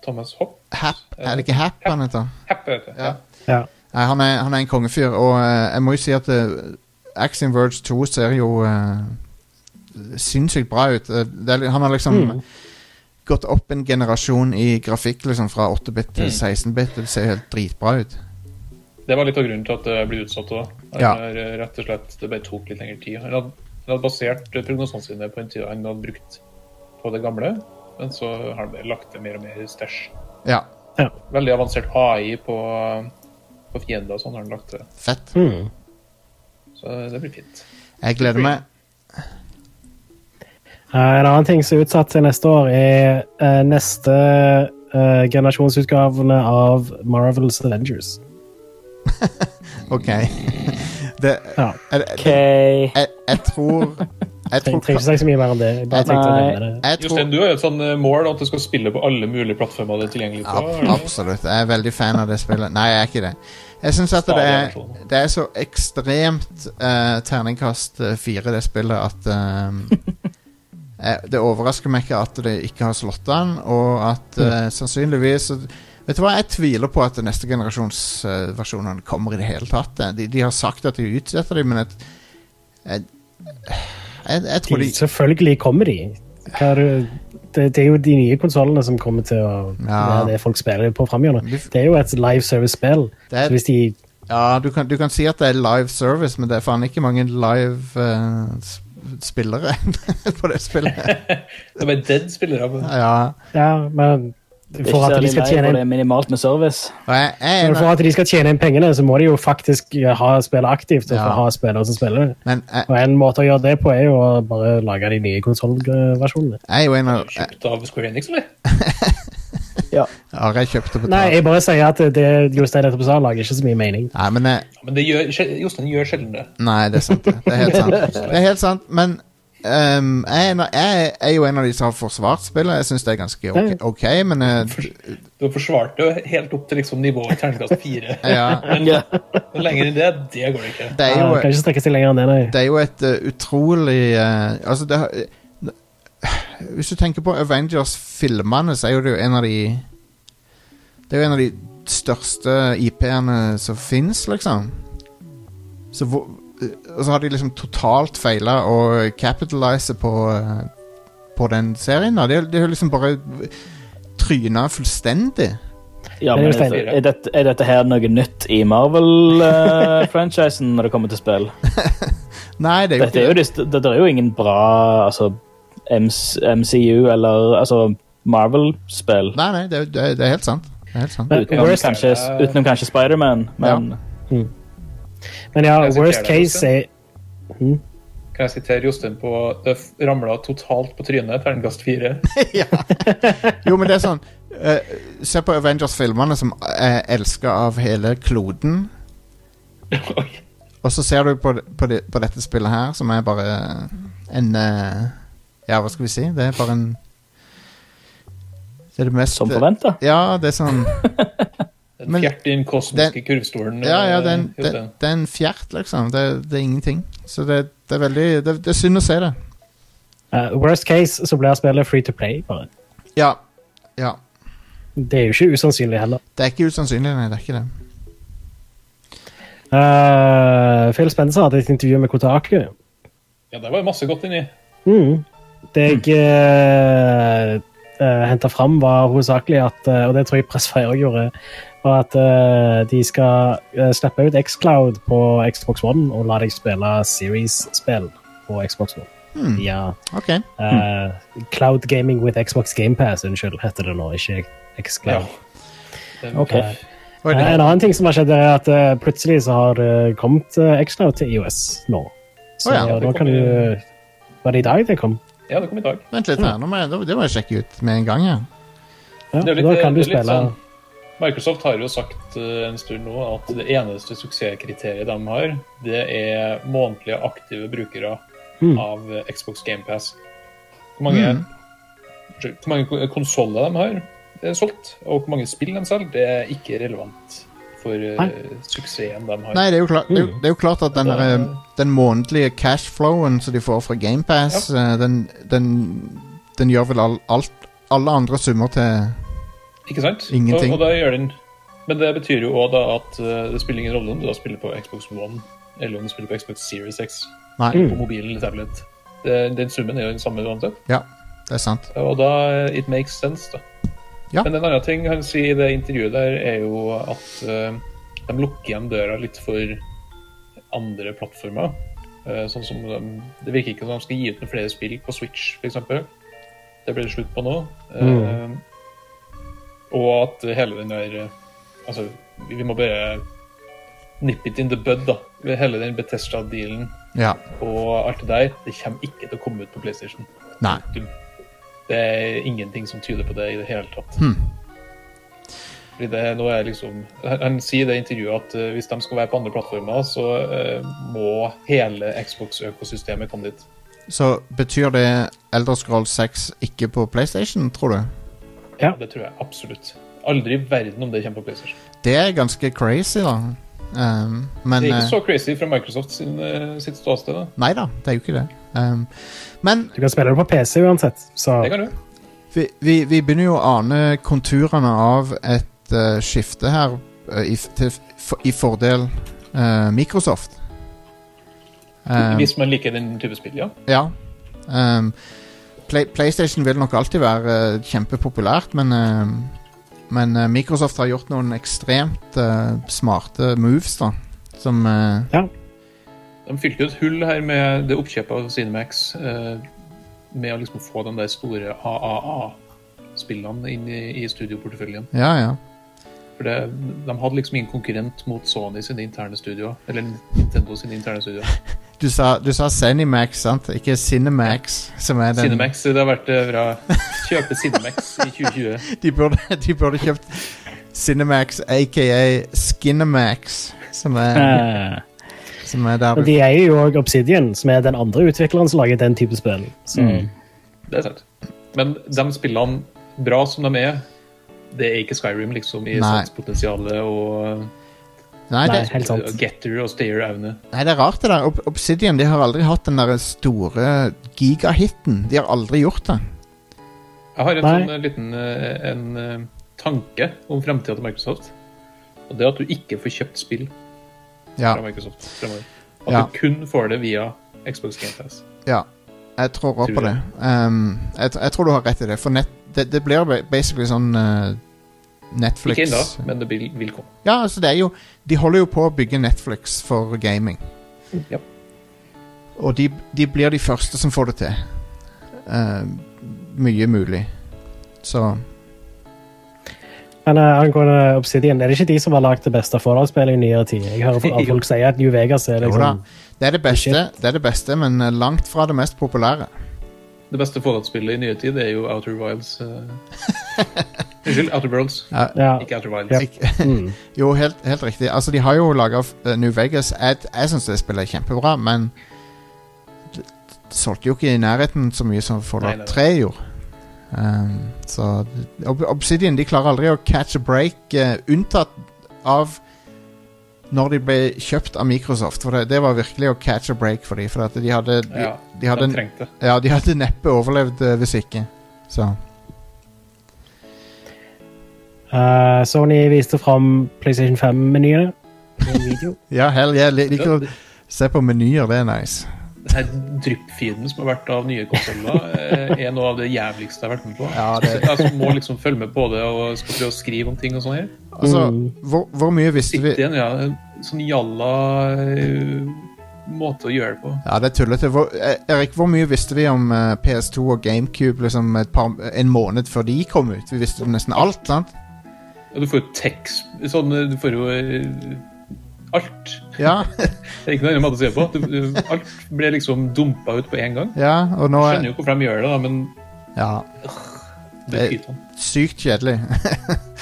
Thomas Hopp.
Happ Er det ikke Happ han heter?
Happ heter det.
Ja.
Ja.
Nei, han er, han er en kongefyr, og eh, jeg må jo si at uh, Axiom Verge 2 ser jo eh, sinnssykt bra ut. Eh, det er, li- han har liksom gått opp en generasjon i grafikk, liksom, fra 8-bit til 16-bit. Det ser helt dritbra ut.
Det var litt av grunnen til at det ble utsatt òg.
Ja.
Rett og slett, det bare tok litt lengre tid. Han hadde, han hadde basert eh, prognosene sine på den tida han hadde brukt på det gamle, men så har han bare lagt til mer og mer stæsj.
Ja,
Veldig avansert AI på, på fiender og sånn har han lagt til.
fett.
Mm.
Så det blir fint.
Jeg gleder meg.
Eh, en annen ting som er utsatt til neste år, er eh, neste eh, generasjonsutgavene av Marvels Avengers.
OK. Det,
Ja.
jeg,
OK.
jeg, jeg, jeg tror Jeg tror,
Jeg trenger ikke si så mye mer om det. Jeg bare tenkte å
Nei.
nevne det.
jeg tror
Jostein, du har jo et sånn eh, mål at du skal spille på alle mulige plattformer det er tilgjengelig på.
Ab-
eller?
Absolutt. Jeg er veldig fan av det spillet. Nei, jeg er ikke det. Jeg syns at det er, det er så ekstremt eh, terningkast eh, fire, det spillet, at eh, eh, Det overrasker meg ikke at det ikke har slått an, og at eh, sannsynligvis så- Vet du hva, jeg tviler på at neste generasjons eh, versjonene kommer i det hele tatt. De, de har sagt at de utsetter dem, men jeg, jeg, jeg, jeg tror
De,
de
selvfølgelig kommer de. Hva er det- det, det er jo de nye konsollene som kommer til å
Ja.
Det er det folk spiller på framover.
Vi f-
Det er jo et live service-spill.
Det er-
Så hvis de
Ja, du kan, du kan si at det er live service, men det er faen ikke mange live eh, s- spillere på det spillet.
Det er bare dead spillere. men-
Ja,
Ja, men
Ikke
for at de
særlig
skal
lei,
tjene
for
inn
det er minimalt med service.
og jeg, jeg er
men
en,
for
av-
at de skal tjene inn pengene, så må de jo faktisk eh, ha spillet aktivt. Og
Ja.
få ha spillere som spiller.
men jeg,
Og en måte å gjøre det på er jo å bare lage de nye konsollversjonene.
jeg er jo en av jeg-
Kjøpt av Square Enix, eller?
Ja.
Are jeg kjøpte på
Nei,
Nei,
jeg bare sier at det Jostein nettopp sa, lager ikke så mye mening.
nei, men jeg,
Ja, men det gjør, sjel- Jostein gjør sjelden det.
Nei, det er sant. Det Det er helt sant. Det er helt sant, men ehm, jeg, er en av, jeg er jo en av de som har forsvart spillet. Jeg syns det er ganske ok, ok, men eh,
Du har forsvart det jo helt opp til liksom nivået terningkast fire.
ja,
Ja.
Men lenger enn det, det går ikke.
det er
Ja,
jo
Eh,
eh,
kan ikke strekke seg lenger enn det, nei.
Det er jo et eh, utrolig eh, Altså, det har Hvis du tenker på Avengers-filmene, så er jo det jo en av de Det er jo en av de største IP-ene som fins, liksom. Så hvor eh, Og så har de liksom totalt feila å capitalise på eh, På den serien. da. Det er- det er jo liksom bare tryna fullstendig.
Ja, men
Det er jo
er,
stein.
er, dette, er dette her noe nytt i Marvel-franchisen eh, når det kommer til spill?
Nei, det er jo
Dette er jo, dist- det, det er jo ingen bra altså, MC, MCU eller altså, Marvel-spill.
Nei, nei, det er, jo- det er, det er helt sant. Det er helt sant.
Men
Utenom
worst-
kanskje, utenom kanskje Spiderman, men
Men ja,
Jeg
worst
siterer deg
case er
Kan jeg sitere Jostein på Det ramla totalt på trynet. Terningkast fire.
ja. Jo, men det er sånn eh, Se på Avengers-filmerne som er elska av hele kloden.
Oi.
Og så ser du på, på, det, på dette spillet her, som er bare en eh, Ja, hva skal vi si? Det er bare en Det er det mest
som forventa.
Ja, det er sånn
Den
Men-
fjerte i den kosmiske kurvstolen.
Ja, ja, det er en,
eh,
det,
Jostein.
det er en fjert, liksom. Det, det er ingenting. Så det, det er veldig det, det er synd å se det.
eh, Worst case så blir spillet free to play, bare.
Ja. Ja.
Det er jo ikke usannsynlig heller.
Det er ikke usannsynlig, nei. Det er ikke det.
Eh, Phil Spencer hadde et intervju med Kotaku.
ja, der var det masse godt inni.
Mm. Det jeg uh, henta fram, var hovedsakelig at eh, Og det tror jeg Pressfire også gjorde. Var at eh, de skal eh, slippe ut Xcloud på Xbox One og la deg spille Series-spill på Xbox One. Via
OK.
eh, Cloud Gaming with Xbox GamePass, unnskyld, heter det nå. Ikke Xcloud.
Den-
Ok.
Oi,
Eh,
det,
En annen ting som har skjedd, er at eh, plutselig så har det kommet eh, Xcloud til IOS nå. Så
Å ja,
det
nå
kom
kan du
i-
Var det i dag det kom?
Ja, det kom i dag.
vent litt her. Nå må jeg, det må jeg sjekke ut med en gang. Ja.
Ja,
Det er litt-
da kan du
det er litt
spille
sånn- Microsoft har jo sagt eh, en stund nå at det eneste suksesskriteriet de har, det er månedlige aktive brukere
Mm.
av eh, Xbox GamePass. Hvor mange,
Mm.
unnskyld, hvor mange konsoller de har eh, solgt, og hvor mange spill de selger, det er ikke relevant for eh,
Nei.
suksessen de har.
Nei, det er, jo klart, det, er
Mm.
jo, det er jo klart at den,
Da-
der, eh, den månedlige cashflowen som de får fra GamePass, den, den, den gjør vel all, alt, alle andre summer til
Ikke sant?
Ingenting.
Og, og da gjør den Men det betyr jo òg da at eh, det spiller ingen rolle om du da spiller på Xbox One eller om du spiller på Xbox Series X
Nei,
på mobilen eller tablet. Det, den summen er jo den samme uansett.
ja, det er sant.
Og da eh, It makes sense, da.
Ja.
Men en annen ting han sier i det intervjuet der, er jo at eh, de lukker igjen døra litt for andre plattformer. Eh, sånn som de, Det virker ikke som de skal gi ut noen flere spill på Switch, f.eks. Det blir det slutt på nå. Eh, Og at hele den der eh, Altså, vi vi må bare nip it in the bud, da. Hele den Betesta-dealen
Ja.
og alt det der, det kommer ikke til å komme ut på PlayStation.
Nei.
Det er ingenting som tyder på det i det hele tatt.
Hmm.
Fordi det, nå er liksom, han han sier i det intervjuet at eh, hvis de skal være på andre plattformer, så eh, må hele Xbox-økosystemet komme dit.
Så betyr det Elder Scrolls 6 ikke på PlayStation, tror du?
Ja.
Det tror jeg absolutt. Aldri i verden om det kommer på PlayStation.
Det er ganske crazy, da. Um, men
Det er
eh,
ikke så crazy fra Microsoft sin, eh, sitt ståsted. da.
Nei da, det er jo ikke det. Um, men
Du kan spille det på PC uansett. Så
Det kan du.
vi, vi, vi begynner jo å ane konturene av et eh, skifte her eh, i, f- til, f- for, i fordel eh, Microsoft. Um,
Hvis man liker den type spill, ja.
Ja. Ehm, Play PlayStation vil nok alltid være eh, kjempepopulært, men ehm, Men eh, Microsoft har gjort noen ekstremt eh, smarte moves, da. Som eh,
De fylte jo et hull her med det oppkjøpet av Cinemax eh, med å liksom få de der store AAA-spillene inn i, i studioporteføljen.
Ja, ja.
For det, de hadde liksom ingen konkurrent mot Sony sine interne studioer. Eller Nintendo sine interne studioer.
Du sa, du sa Zenimax, sant? Ikke Cinemax. Som er den
Cinemax, det har vært eh, bra. Kjøpe Cinemax i 2020.
De burde, de burde kjøpt Cinemax, aka Skinemax, som er,
Eh,
som er der
Og
du
de eier jo òg Obsidian, som er den andre utvikleren som lager den type spill. Så
Mm. Det er sant. Men de spillene, bra som de er, det er ikke Skyrim, liksom, i
Nei.
satspotensialet og,
Nei,
Nei,
det,
helt sant.
og Getter og Stayer-evne.
Nei, det er rart det der. Ob Obsidian de har aldri hatt den der store gigahitten. De har aldri gjort det.
Jeg har en
Nei.
sånn eh, liten eh, en, eh, tanke om fremtida til Microsoft. Og det er at du ikke får kjøpt spill
Ja,
fra Microsoft fremover. At
Ja.
du kun får det via Xbox GamePass.
ja. Jeg tror også på
Tror
det. Um, jeg, tr- jeg tror du har rett i det. For nett, det, det blir ba- basically sånn eh, Netflix
Ikke ennå, men det vil, vil komme.
Ja, altså det er jo De holder jo på å bygge Netflix for gaming.
Ja.
Og de, de blir de første som får det til. Eh, mye mulig. Så
Eh, Men eh, angående Obsidian, er det ikke de som har lagd det beste Fallout-spillet i nyere tid? Jeg hører fra- folk si at New Vegas er
Jo da.
liksom
Det er det beste, det er det beste men eh, langt fra det mest populære.
Det beste forholdsspillet i nye tid er jo Outer Wilds. eh. Unnskyld, Outer Worlds.
ja.
Ikke Outer Wilds.
Ja.
Ikke- jo, helt, helt riktig. Altså, de har jo laga New Vegas. Jeg, jeg syns det spillet er kjempebra, men det, det solgte jo ikke i nærheten så mye som
Nei, nei, nei.
Fallout 3 gjorde. Um, så Ob Obsidian de klarer aldri å catch a break, eh, unntatt av når de ble kjøpt av Microsoft. For det, det var virkelig å catch a break for dem. For at de hadde, de,
Ja,
de hadde
de trengte det.
Ja, de hadde neppe overlevd eh, hvis ikke. Så
Eh, Sony viste fram PlayStation 5-menyene.
Ja, hell, jeg li- liker å se på menyer. Det er nice.
Den her dryppfeeden som har vært av nye konsoller, eh, er noe av det jævligste jeg har vært med på.
Ja, det-
Altså, må liksom følge med på det og skal prøve å skrive om ting og sånn her.
Altså, hvor, hvor mye visste vi
Sitte igjen, ja. En sånn jalla eh, måte å gjøre det på.
Ja, det er tullete. Hvor, eh, Erik, hvor mye visste vi om eh, PS2 og GameCube liksom et par, en måned før de kom ut? Vi visste jo nesten alt, sant?
Ja, du får jo tekst sånn, eh, Du får jo eh, alt.
Ja,
Det er ikke noe annet måte å se på. Du, du, alt ble liksom dumpa ut på én gang.
ja og nå
Jeg
er
skjønner jo hvorfor de gjør det, da, men
Ja,
det er
Det-
pyton.
sykt kjedelig.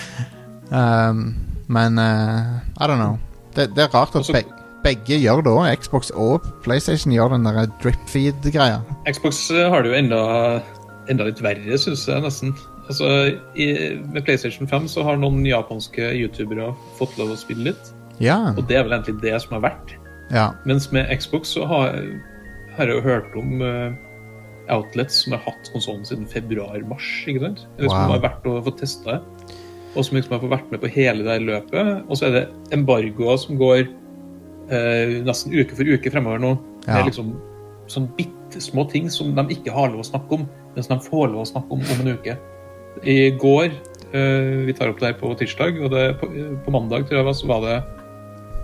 um, men eh, I don't know. Det, det er rart at
Også-
beg- begge gjør det òg. Xbox og PlayStation gjør den der dripfeed-greia.
Xbox eh, har det jo enda, enda litt verre, syns jeg nesten. Altså, i, Med PlayStation 5 så har noen japanske youtubere fått lov å spille litt,
Ja.
og det er vel egentlig det som har vært.
ja.
Mens med Xbox så har, har jeg jo hørt om eh, outlets som har hatt konsollen siden februar-mars. ikke sant? Eller som
Wow.
har vært og fått testa det. Og som liksom har fått vært med på hele det her løpet. Og så er det embargoer som går eh, nesten uke for uke fremover nå. Det
Ja.
er liksom sånn bitte små ting som de ikke har lov å snakke om, men som de får lov å snakke om om en uke. I går eh, Vi tar opp det her på tirsdag, og det, på, eh, på mandag tror jeg det var, så var det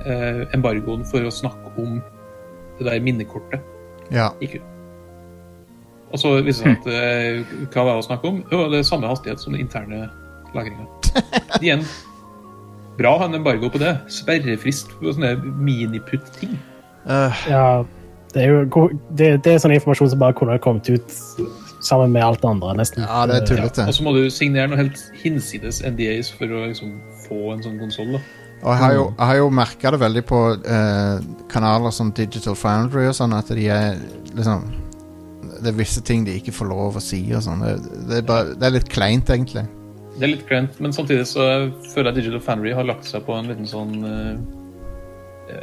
eh, embargoen for å snakke om det der minnekortet
ja.
gikk ut. Og så viser Altså, det seg at eh, hva var det å snakke om? Jo, det er samme hastighet som den interne lagringa. Igjen. Bra å ha en embargo på det. Sperrefrist på sånne miniputt-ting.
Øh,
Ja, det er jo go- det, det er sånn informasjon som bare kunne ha kommet ut sammen med alt det andre, nesten.
ja, det er tullete.
Og så må du signere noe helt hinsides NDAs for å liksom få en sånn konsoll.
Og jeg har jo,
Mm.
jeg har jo merka det veldig på eh, kanaler som Digital Foundry og sånn, at de er liksom Det er visse ting de ikke får lov å si og sånn. Det, det, er bare- det er litt kleint, egentlig.
Det er litt kleint, men samtidig så føler jeg Digital Fanry har lagt seg på en liten sånn eh,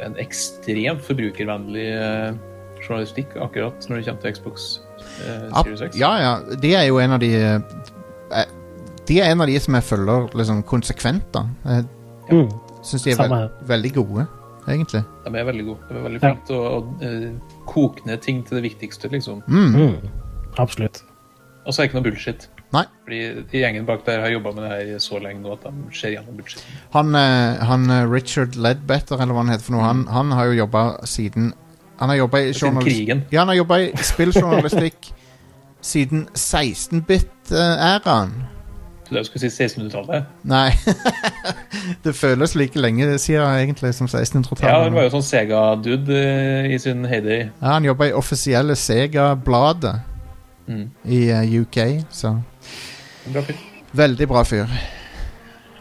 En ekstremt forbrukervennlig eh, journalistikk akkurat når det kommer til Xbox eh,
Ab-
Series X.
ja, ja. De er jo en av de eh, eh, De er en av de som jeg følger liksom konsekvent, da. Jeg
Mm.
syns de er
Samme
vel-
her.
veldig gode, egentlig.
De er veldig gode. De er veldig
Ja.
flinke til å, å eh, koke ned ting til det viktigste, liksom.
Mm. Absolutt.
Og så er det ikke noe bullshit.
Nei.
Fordi de gjengen bak der har jobba med det her så lenge nå at de ser gjennom bullshit.
Han, eh, han eh, Richard Ledbetter, eller hva han heter for noe, han, han har jo jobba siden Han har jobba i
Mm. Siden
journalist...
krigen.
Ja, han har jobba i spilljournalistikk siden 16-bit-æraen.
Så det skulle si 1600-tallet.
Nei Det føles like lenge siden egentlig som
Ja, han
1600-tallet.
var
Ja,
jo sånn Sega-dude eh, i sin heyday.
han jobba i offisielle Sega-bladet
Mm.
i eh, UK, så
Bra fyr.
Veldig bra fyr.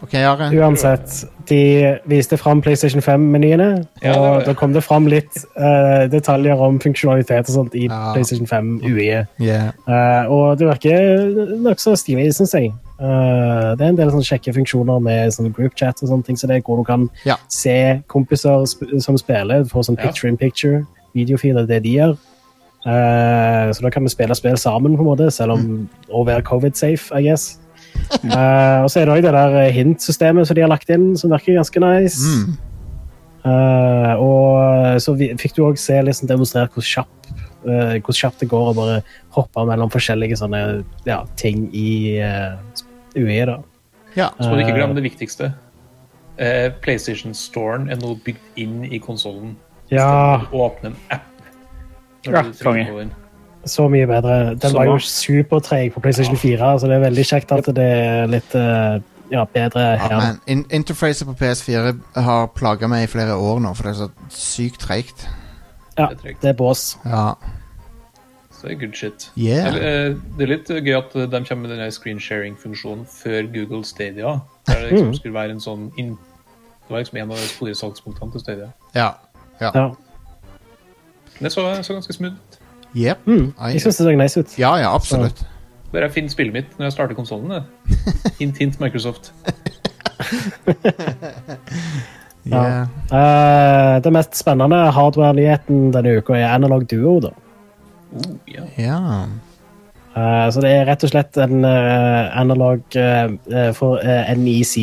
OK, Are?
Uansett, de viste fram PlayStation 5-menyene,
Ja, det var
og
det.
da kom det fram litt eh, detaljer om funksjonalitet og sånt i
Ja.
PlayStation 5 UE.
Yeah.
Eh, og det virker nokså stilig, syns jeg. Eh, det er en del sånn kjekke funksjoner med sånn groupchat og sånne ting, så det er hvor du kan
Ja.
se kompiser sp som spiller, få sånn
Ja.
picture in picture, videofiler, det de gjør. Eh, så da kan vi spille spill sammen, på en måte, selv om
Mm.
å være covid-safe, I guess. Eh, og så er det òg det der hint-systemet som de har lagt inn, som virker ganske nice.
Mm.
Eh, og så vi, fikk du òg se liksom, demonstrert hvor kjapt hvor kjapt det går å bare hoppe mellom forskjellige sånne ja, ting i eh, UE. da.
ja.
Så må du ikke glemme det viktigste. Eh, PlayStation-storen er nå bygd inn i konsollen.
Ja,
Åpne en app. når
Ja,
du trykker
konge.
på den.
så mye bedre. Den
Så
var jo
bra.
supertreg på PlayStation 4, så det er veldig kjekt at det er litt eh, ja, bedre
Ja,
her.
men in interfacet på PS4 har plaga meg i flere år nå, for det er så sykt treigt.
Ja,
Det er tregt.
det er bås.
Ja.
Så det er good shit.
Yeah.
Eller, eh, Det er litt gøy at de kommer med denne screensharing-funksjonen før Google Stadia. Der det
Mm.
liksom skulle være en sånn inn... Det var liksom en av de store salgspunktene til Stadia.
Ja. ja.
Ja.
Men det så, så ganske smooth ut.
Yep.
Mm,
Ah,
jeg syns det så nice ut.
Ja, ja, absolutt.
Bare jeg finner spillet mitt når jeg starter konsollen. Hint, hint, Microsoft.
Ja.
Yeah.
Eh, det mest spennende hardware-nyheten denne uka er Analog Duo. da.
Oh, ja.
Ja.
Eh, så det er rett og slett en eh, analog eh, eh, for eh, NEC.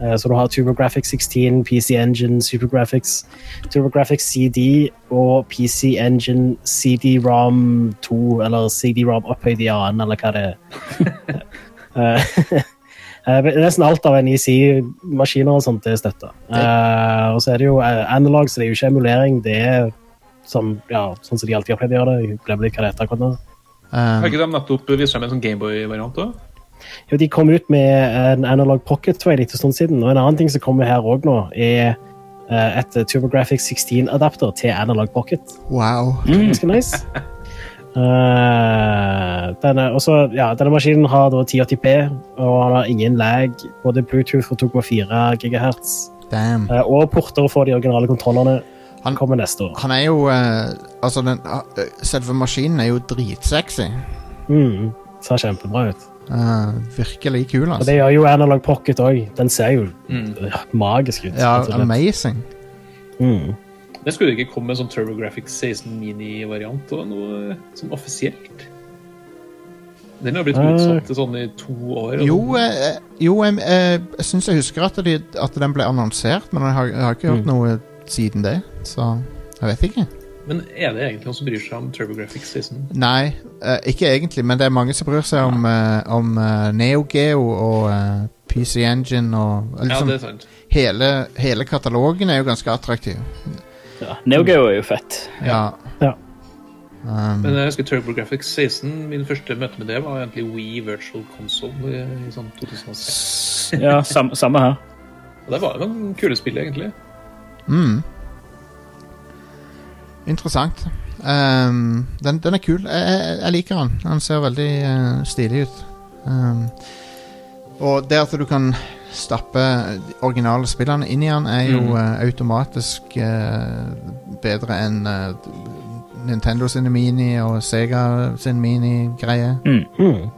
Eh, så du har TurboGrafx 16, PC Engine, SuperGrafx, TurboGrafx CD og PC Engine CD-ROM 2, eller CD-ROM opphøyd i annen, eller hva det er. Eh, eh, men Nesten alt av NEC-maskiner og sånt er støtta. og så er det jo eh, analog, så det er jo ikke emulering. Det er som, ja, sånn som de alltid har pleid å gjøre det. Jeg glemmer litt hva det heter akkurat nå.
Um,
Har ikke de nettopp vist frem en sånn Gameboy-variant òg?
Jo, de kom ut med en analog pocket for en liten stund siden, og en annen ting som kommer her òg nå, er eh, et TurboGrafx 16-adapter til analog pocket.
wow.
Ganske nice. Eh, denne, også, ja, denne maskinen har da 1080P, og han har ingen lag, både Bluetooth og 2,4 GHz.
Damn.
eh, og porter for de originale kontrollene.
Han-
kommer neste år.
Han er jo eh, Altså, den, eh, selve maskinen er jo dritsexy.
Mm, ser kjempebra ut.
Eh, virkelig kul,
Og det
altså.
gjør jo analog pocket òg. Den ser jo eh, magisk ut.
Mm.
Altså,
Ja,
rett og slett.
amazing.
Mm.
Det skulle ikke komme en sånn TurboGrafx 16 Mini-variant og noe sånn offisielt. Den har blitt
Nei.
utsatt til sånn i to år. og
Jo,
sånn.
eh, jo jeg, jeg, jeg syns jeg husker at, de, at den ble annonsert, men jeg har, jeg har ikke
Mm.
hørt noe siden det. Så jeg vet ikke.
Men er det egentlig noen som bryr seg om TurboGrafx 16?
Nei, eh, ikke egentlig, men det er mange som bryr seg om, eh, om eh, Neo Geo og eh, PC Engine og eh,
Ja,
liksom,
det er sant.
hele, hele katalogen er jo ganske attraktiv.
Ja, Neo Geo er jo fett.
Ja.
Ja.
Um,
Men jeg husker TurboGrafx 16. Min første møte med det var egentlig Wii Virtual Console i, i sånn 2006.
Ja, sam, samme her.
Og det var jo noen kule spill, egentlig.
mm. Interessant. Um, den, den er kul. Jeg, jeg, jeg liker den. Den ser veldig eh, stilig ut. Um, og det at du kan stappe de originale spillene inn i den, er jo eh, automatisk eh, bedre enn eh, Nintendo sine mini og Sega sin mini-greie.
Mm.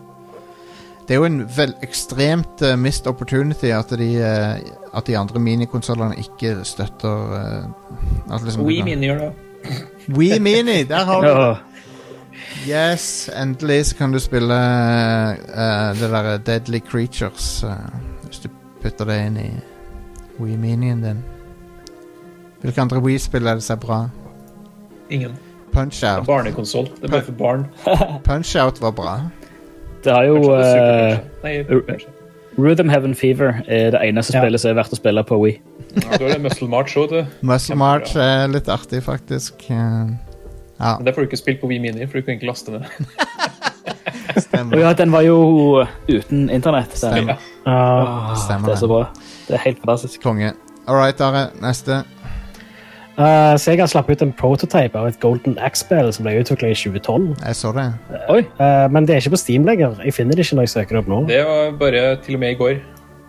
Det er jo en vel ekstremt uh, missed opportunity at de, eh, at de andre minikonsollene ikke støtter eh, at liksom
Wii Mini gjør det.
Wii Mini! Der har du
Ja.
Yes! Endelig så kan du spille eh, det derre Deadly Creatures eh, hvis du putter det inn i Wii Minien din. Hvilke andre Wii-spill er det som er bra?
Ingen.
Punch-Out.
Barnekonsoll. Det er bare for barn.
Punch-Out var bra.
Det har jo
Kanskje det er
eh,
Super Punch-Out. Nei,
Ru-
Punch-Out.
Rhythm Heaven Fever er det eneste
Ja.
spillet som er verdt å spille på Wii.
Ja, da er det Muscle March òg, du.
Muscle
Kjempebra.
March er litt artig, faktisk. Eh, ja,
Men det får du ikke spilt på Wii Mini, for du kan ikke laste ned.
Og
stemmer.
ja, den var jo uten internett. Den.
Stemmer.
Eh,
Ah,
Stemmer
det er
det.
så bra. Det er helt fantastisk.
Konge. All right, Are. Neste.
Eh, Sega slapp ut en prototype av et Golden Axe-spill som ble utvikla i 2012.
Jeg så det.
Oi,
Eh, men det er ikke på Steam lenger. Jeg finner det ikke når jeg søker det opp nå.
Det var bare til og med i går.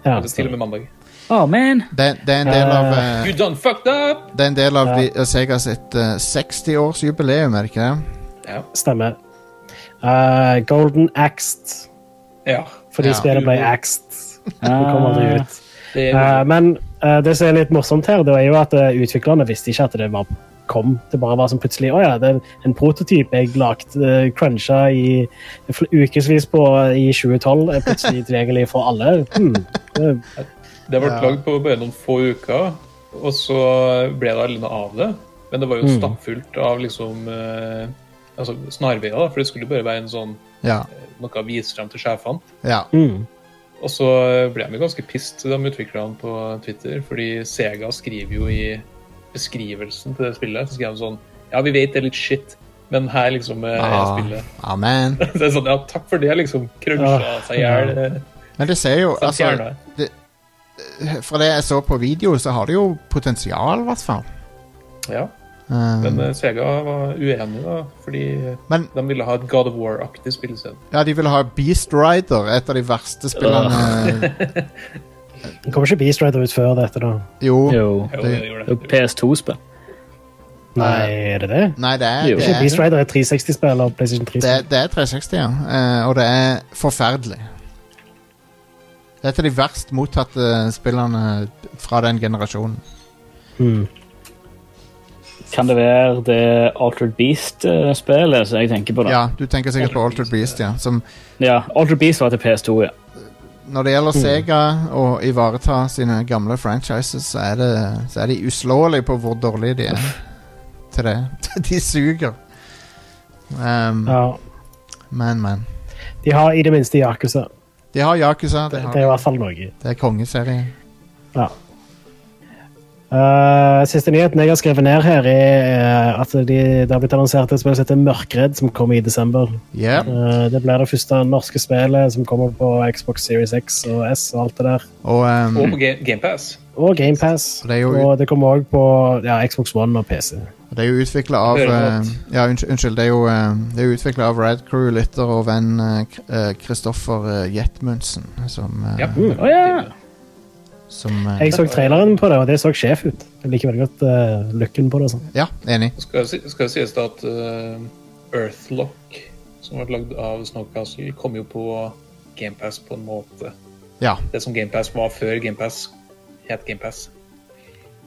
Ja,
Eller til og med mandag.
oh, man.
Det, det er en del av, eh,
You done fucked up!
det er en del av de, Sega sitt eh, 60-årsjubileum, er det ikke det?
Ja.
Stemmer. Eh, Golden Axed,
ja.
fordi
Ja.
spillet ble axed. Det kom aldri ut.
Det er
Eh, men eh, det som er litt morsomt her, det er jo at eh, utviklerne visste ikke at det var kom. Det bare var som plutselig Å ja, det er en prototyp jeg lagde, uh, cruncha i fl- ukevis på i 2012, er plutselig tilgjengelig for alle. Hmm. det-
Det ble lagd på bare noen få uker, og så ble det aldri noe av det. Men det var jo stappfullt av liksom eh, altså snarveier, da, for det skulle bare være en sånn
Ja.
noe å vise frem til sjefene.
ja.
Mm.
Og så ble de jo ganske pissed, de utviklerne på Twitter, fordi Sega skriver jo i beskrivelsen til det spillet så skriver de sånn Ja, vi vet det er litt shit, men her liksom eh, er
Ah,
spillet.
Amen.
Så det er sånn, ja, takk for det, liksom. Krønsja
Ah,
seg i hjel.
Men det ser jo
De
altså,
fjerner det.
Fra det jeg så på video, så har det jo potensial, i hvert fall.
Ja,
Um,
men eh, Sega var uenig, da, fordi eh,
Men-
de ville ha et God of War-aktig spillested.
ja, de vil ha Beast Rider, et av de verste spillene
Det kommer ikke Beast Rider ut før dette, da.
Jo.
Jo.
Det-
Jo, det gjorde
Det er jo
det.
PS2-spill.
Nei, er det det?
Nei, det er,
Jo.
det
Ikke Beast
er,
Rider er 360-spill og PlayStation 3.
det, er- det er 360, ja. Eh, og det er forferdelig. Det er et av de verst mottatte spillene fra den generasjonen.
Mm.
Kan det være det Altered Beast-spillet som jeg tenker
Sånn,
på? da?
Ja, du tenker sikkert på Altered Beast, ja. Som
Ja, Altered Beast var til PS2, ja.
når det gjelder Sega å ivareta sine gamle franchises, så er, det, så er de uslåelige på hvor dårlige de er til det. De suger. Um,
Ja.
Men, men.
De har i det minste Yakuza.
De har Yakuza, de
Det
har,
er i hvert fall noe.
det er kongeserie.
Ja. Eh, siste nyheten jeg har skrevet ned her, er eh, at de, det har blitt annonsert et spill som heter Mørkredd, som kommer i desember.
Yep.
Eh, det blir det første norske spillet som kommer på Xbox Series X og S og alt det der.
Og um,
Oh.
Og på Ga- Game Pass
Og GamePass.
Det er jo-
Og det kommer òg på ja, Xbox One og PC.
Det er jo utvikla av
Hører
eh,
godt.
Ja, unnskyld. unnskyld det er jo, eh, det er jo utvikla av Rad Crew, lytter og venn eh, K- eh, Kristoffer eh, Jetmundsen, som, eh,
Ja.
Å, ja.
som eh,
Jeg så traileren på det, og det så sjef ut. Jeg liker veldig godt eh, looken på det. og Sånn.
Ja, enig.
Skal jo si- skal jo sies da at eh, Earthlock, som ble lagd av Snowcastle, kom jo på Game Pass på en måte.
Ja,
Det som Game Pass var før Game Pass het Game Pass.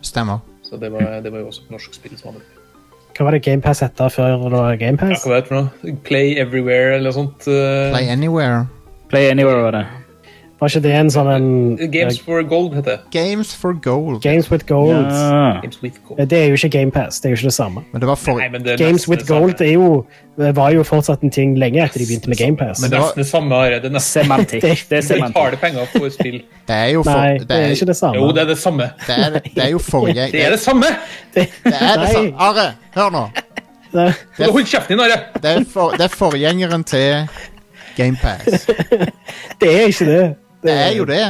stemmer.
Så det var, det var jo også et norsk spill som hadde det.
Hva var det GamePass het før det var
Ja,
GamePass?
hva heter det for noe? Play Everywhere eller noe sånt? eh,
Play Anywhere.
Play Anywhere var det.
Var ikke det en sånn en
Eh, Games for Gold heter det.
Games for gold.
Games with Gold?
Ja.
Games with Gold.
Det er jo ikke GamePass, det er jo ikke det samme.
Men det var for
Nei, men det er
Eh, Games
nesten
with
det samme.
Gold er jo, eh, var jo fortsatt en ting lenge etter de begynte med GamePass.
Men
Det er nesten det samme. Are. Det er nesten
Semantikk. Det er
det er
semantikk.
harde penger for spill.
Det er jo for
Nei, det er ikke det samme.
Jo, det er det samme.
det er, det er jo forrige
Det er det samme!
det er det
Nei.
sa- Are, hør nå.
Nei,
Du må holde kjeften din, Are!
Det er, for, det er forgjengeren til GamePass.
det er ikke det.
Det er jo det.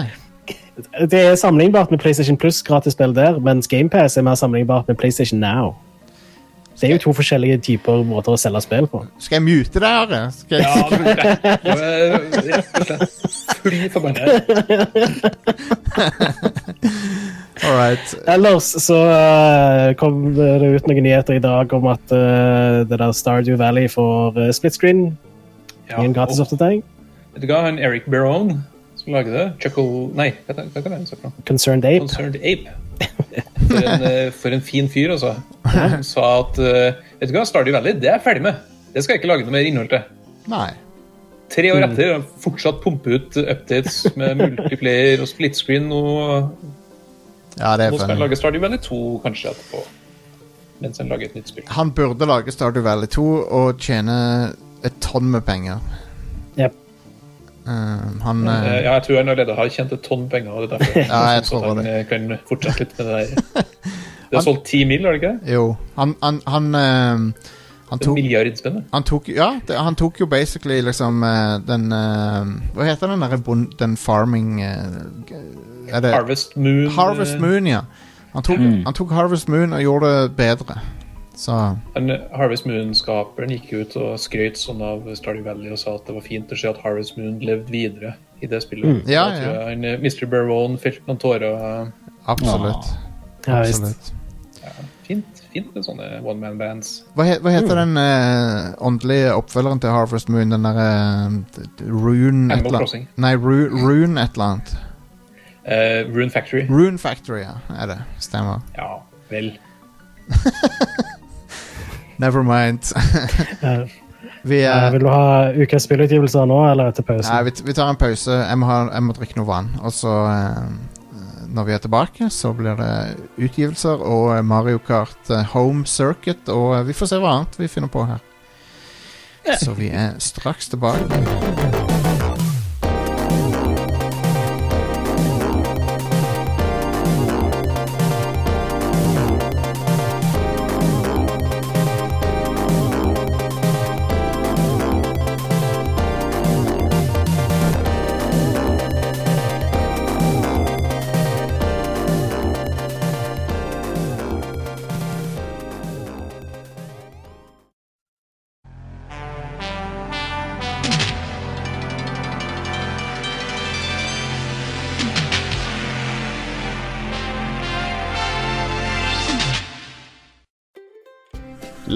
Det er sammenlignbart med PlayStation Plus, gratisspill der, mens GamePass er mer sammenlignbart med PlayStation Now. Det er jo to forskjellige typer måter å selge spill på.
Skal jeg mute deg, Are? Skal
Ja,
jeg...
du er rett og slett fly forbannet.
All right.
Ellers så eh, kom det ut noen nyheter i dag om at eh, det der Stardew Valley får eh, split screen
Ja,
i en gratis
og,
oppdatering.
vet du hva, han Eric Barone som lager det, Chuckle Nei, hva heter- hva kaller han seg for noe?
Concerned Ape.
Concerned Ape. For en, eh, for en fin fyr, altså. Han sa at eh, Vet du hva, Stardew Valley, det er jeg ferdig med. Det skal jeg ikke lage noe mer innhold til.
Nei.
Tre år etter har han fortsatt pumpet ut updates med multiplayer og split screen. Og
Ja, det
nå
er
skal han
funny.
lage Stardew Valley 2 kanskje etterpå. Mens han lager et nytt spill.
Han burde lage Stardew Valley 2 og tjene et tonn med penger.
Yep.
Um, han
Eh,
eh,
Ja, jeg tror han allerede har tjent et tonn penger. Og det er derfor
Ja, jeg
synes
tror
at han
det.
eh, kan fortsette litt med det der. Det er solgt ti mil, har det ikke det?
Jo. Han Han, han, ehm, han
Det er
tok
Milliardspennende.
han tok, ja, det, han tok jo basically liksom eh, den eh, Hva heter den derre bond... Den farming eh, Er det
Harvest Moon. eh,
Harvest Moon, ja. Han tok, han tok Harvest Moon og gjorde det bedre. Så
Han, Harvest Moon-skaperen gikk ut og skrøt sånn av Stardew Valley og sa at det var fint å se at Harvest Moon levde videre i det spillet.
Ja,
Så jeg
ja.
tror Han, eh, Mr. Barone felte noen tårer. eh,
absolutt.
Ja, visst.
absolutt.
Fint, fint med sånne one man bands.
Hva, he, hva heter den eh, åndelige oppfølgeren til Harvest Moon? Den derre Rune et
Animal
eller annet?
Crossing.
Nei, Ru, Rune et eller annet.
Eh, Rune Factory.
Rune Factory, ja. Er det. Stemmer.
Ja, vel.
Never mind.
Eh,
vi, eh,
eh, vil du ha ukas spillutgivelser nå, eller etter pausen?
Nei, vi, vi tar en pause. Jeg må, ha, jeg må drikke noe vann. Og så, eh, når vi er tilbake, så blir det utgivelser og eh, Mario Kart eh, Home Circuit. Og eh, vi får se hva annet vi finner på her. Så vi er straks tilbake.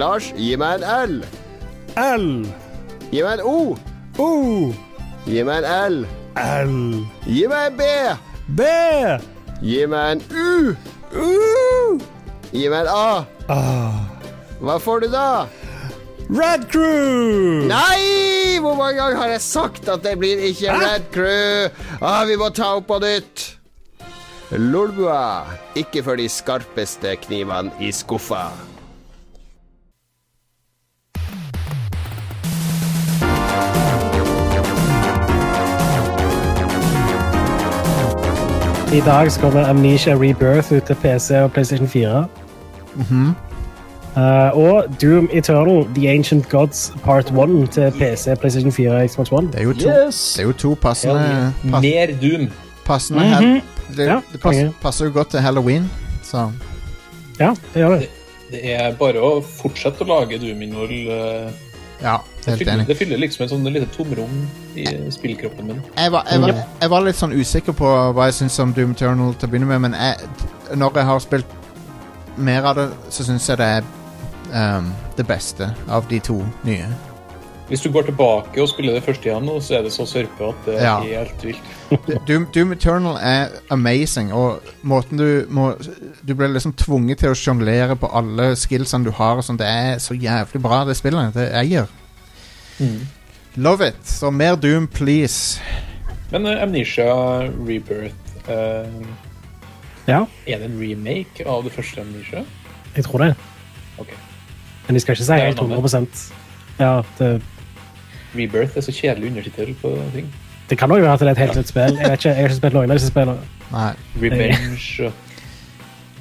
Lars, gi meg en L.
L.
Gi meg en O.
O.
Gi meg en L.
L.
Gi meg en B.
B.
Gi meg en U.
U.
Gi meg en A. Hva får du da?
Red Crew.
Nei! Hvor mange ganger har jeg sagt at det blir ikke
Hæ?
Red Crew? Ah, vi må ta opp på nytt. Lolbua. Ikke for de skarpeste knivene i skuffa.
I dag så kommer Amnesia Rebirth ut til PC og PlayStation 4.
Mhm.
Eh, og Doom Eternal The Ancient Gods Part 1 til PC, PlayStation 4 og Xbox One.
Det er jo to,
Yes!
det er jo to passende,
Ja,
pass,
Mer Doom.
passende hel- Det,
Ja,
det passer,
konge.
passer jo godt til halloween, så
Ja, det gjør det.
Det er bare å fortsette å lage Doom-innhold. eh,
ja,
Det,
helt
fyller-
enig.
det fyller liksom et sånn lite tomrom i spillkroppen min.
jeg var, jeg, var, jeg var litt sånn usikker på hva jeg syns om Doom Eternal til å begynne med, men jeg, når jeg har spilt mer av det, så syns jeg det er ehm, det beste av de to nye.
Hvis du går tilbake og spiller det første igjen, nå, så er det så sørpe at det er
Ja.
helt vilt.
Doom, Doom Eternal er amazing, og måten du må Du blir liksom tvunget til å sjonglere på alle skillsene du har, og sånn. Det er så jævlig bra, det spillet. Det eier. Love it. Så mer Doom, please.
Men eh, Amnesia Rebirth eh,
Ja,
Er det en remake av det første Amnesia?
jeg tror det.
Ok.
Men de skal ikke si helt 100 Ja, det,
Rebirth er så kjedelig undertittel på ting.
det kan nok være at det er et helt nytt spill. Jeg, vet ikke, jeg har ikke spilt noen av disse spillene.
Nei.
Revenge og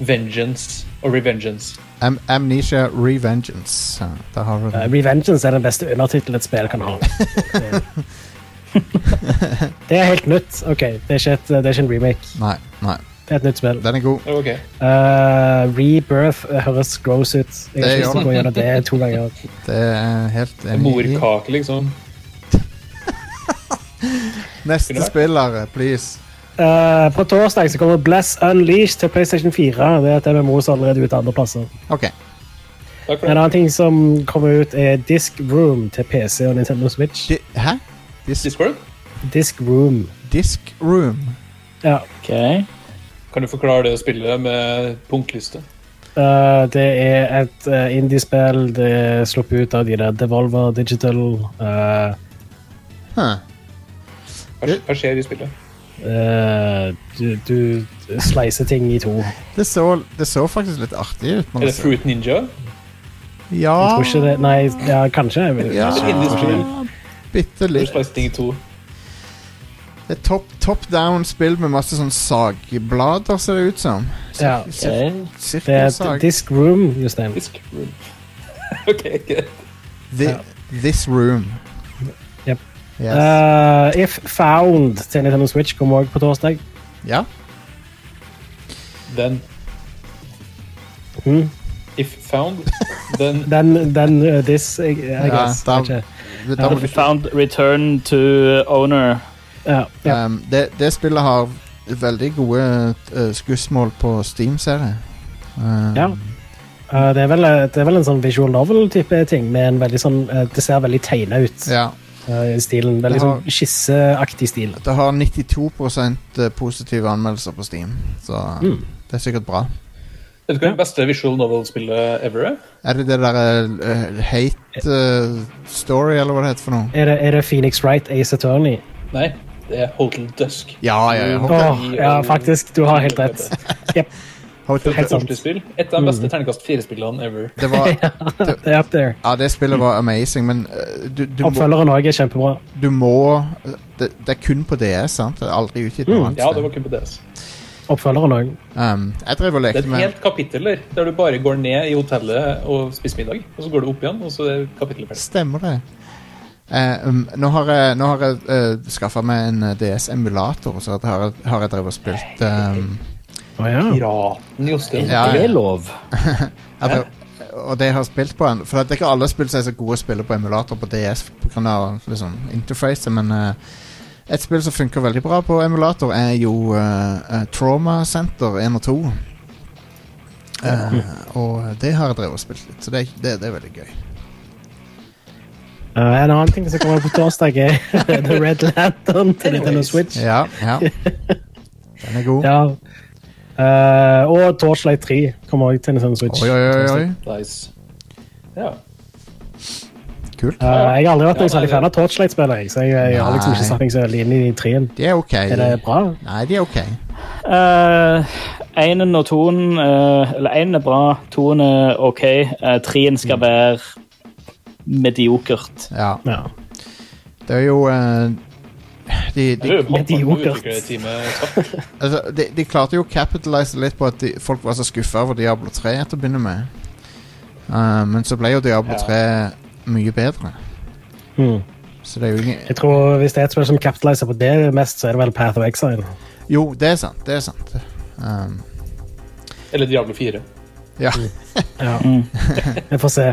Vengeance og Revengeance.
Am Amnesia Revengeance. Ja, Der har du
Eh,
den.
Revengeance er den beste undertittelen et spill kan ha. Eh, Det er helt nytt. Ok, det er ikke, et, det er ikke en remake.
Nei, nei.
Det er et nytt spill.
Den er god.
Ja, Ok.
Eh, Rebirth høres gross ut. Jeg har
Det
ikke lyst til
gjør
å gå gjennom det to ganger.
Det er helt enig. i.
Morkake, liksom.
Neste spiller, please.
Eh, på torsdag så kommer Bless Unleashed til PlayStation 4. Det er et MMO som allerede er ute andre plasser.
OK.
Takk for
En
det.
annen ting som kommer ut, er Disk Room til PC og Nintendo Switch.
Di Hæ? Dis
Discord,
Disk Room.
Disk Room.
Ja,
Ok.
kan du forklare det spillet med punktliste?
Eh, det er et eh, indie-spill. Det er sluppet ut av de der Devolver Digital. eh,
Huh.
Hva, hva skjer i spillet?
eh, du, du sleiser ting i to.
Det så, det så faktisk litt artig ut. når
Er
jeg
det
så-
Fruit Ninja?
Jeg
Ja,
tror ikke det Nei, ja, kanskje. jeg vil-
Ja.
Det er et Indiespill.
bitte
Du
litt.
slicer ting i to.
Det er top, top down-spill med masse sånn sagblader, ser det ut som.
Ja.
Sir-
Ok.
Det er
Sirkelsag.
et Disk Room, Jostein.
Disk room. ok, greit.
Thi- This Room.
Yep.
Yes.
Eh, If Found til Nintendo Switch kommer også på torsdag.
Ja.
Then
Mm.
if found, then
Den, den eh, This Jeg, jeg,
Ja,
guess,
da-
jeg vet ikke.
Da må du
Found return to owner.
Ja, ja.
Um, det, det spillet har veldig gode eh, skussmål på Steam, ser jeg. Um,
Ja. Eh, det, er vel, det er vel en sånn visual novel-type ting, med en veldig sånn eh, Det ser veldig tegna ut
ja.
eh, i stilen. Veldig
Det har-
sånn skisseaktig stil.
Det har 92 positive anmeldelser på Steam, så
Mm.
det er sikkert bra.
Vet du hva det beste visual novel-spillet ever eh? er?
Er det det derre hate eh, story, eller hva det heter for noe?
Er det, er det Phoenix Wright Ace Attorney?
Nei, det er Hotel Dusk.
Ja, ja, ja.
Åh,
Hotel,
ja, faktisk. Du har helt rett.
Hotel,
Helt sant. Mm.
Første spill. Et av de beste terningkast fire-spillene ever.
Det var,
Det er up there.
ja, det spillet var amazing, men eh, du, du, må,
Oppfølgeren òg er kjempebra.
du må eh, det, det er kun på DS, sant? Det er aldri utgitt noe annet
Mm. Ja, det
sted.
var kun på DS.
Oppfølgeren også.
Um, jeg drev og
Det er
lekte
et
med
helt kapittel der, der du bare går ned i hotellet og spiser middag, og så går du opp igjen, og så er kapittelet ferdig.
Stemmer det. Eh, um, nå har jeg, nå har jeg eh, skaffa meg en DS-emulator, så at har, jeg- har jeg drevet og spilt um,
Å ja.
Piraten, Jostein.
Ja,
Det
ja.
er lov.
jeg drev- Og det jeg har spilt på en For at det er ikke alle spill som er så gode å spille på emulator på DS pga. Liksom, interfacet, men eh, et spill som funker veldig bra på emulator, er jo eh, eh, Trauma Center 1 og 2. Eh, og det har jeg drevet og spilt litt, så det, er- det, det er veldig gøy.
Eh, en annen ting som kommer på torsdag, er The Red Lantern til Nintendo Switch.
Ja, ja. Den er god.
Ja. Eh, og Torchlight 3 kommer også til Nintendo Switch.
Oi, oi, oi, oi.
Nice. Ja.
Kult.
Eh, jeg har aldri vært
Ja,
noen særlig
nei,
fan av Torchlight-spillet, jeg, så jeg, jeg har liksom ikke
Nei.
satt meg så veldig inn i de treen.
De er ok.
Er det bra?
Nei, de er ok.
Eh, Einen og toen eh, Eller einen er bra, toen er OK. eh,
Mm.
Treen skal være mediokert.
Ja.
Ja.
Det er jo eh, de, de,
Mediokert.
altså, de, de klarte jo å capitalize litt på at de, folk var så skuffa over Diablo 3 til å begynne med. Eh, men så ble jo Diablo
Ja.
3 mye bedre.
Mm.
Så det er jo ingen
Jeg tror Hvis det er et spill som capitaliser på det mest, så er det vel Path of Exile.
Jo, det er sant. Det er sant. Um,
Eller Diablo 4.
ja.
Ja.
Mm.
Jeg får se.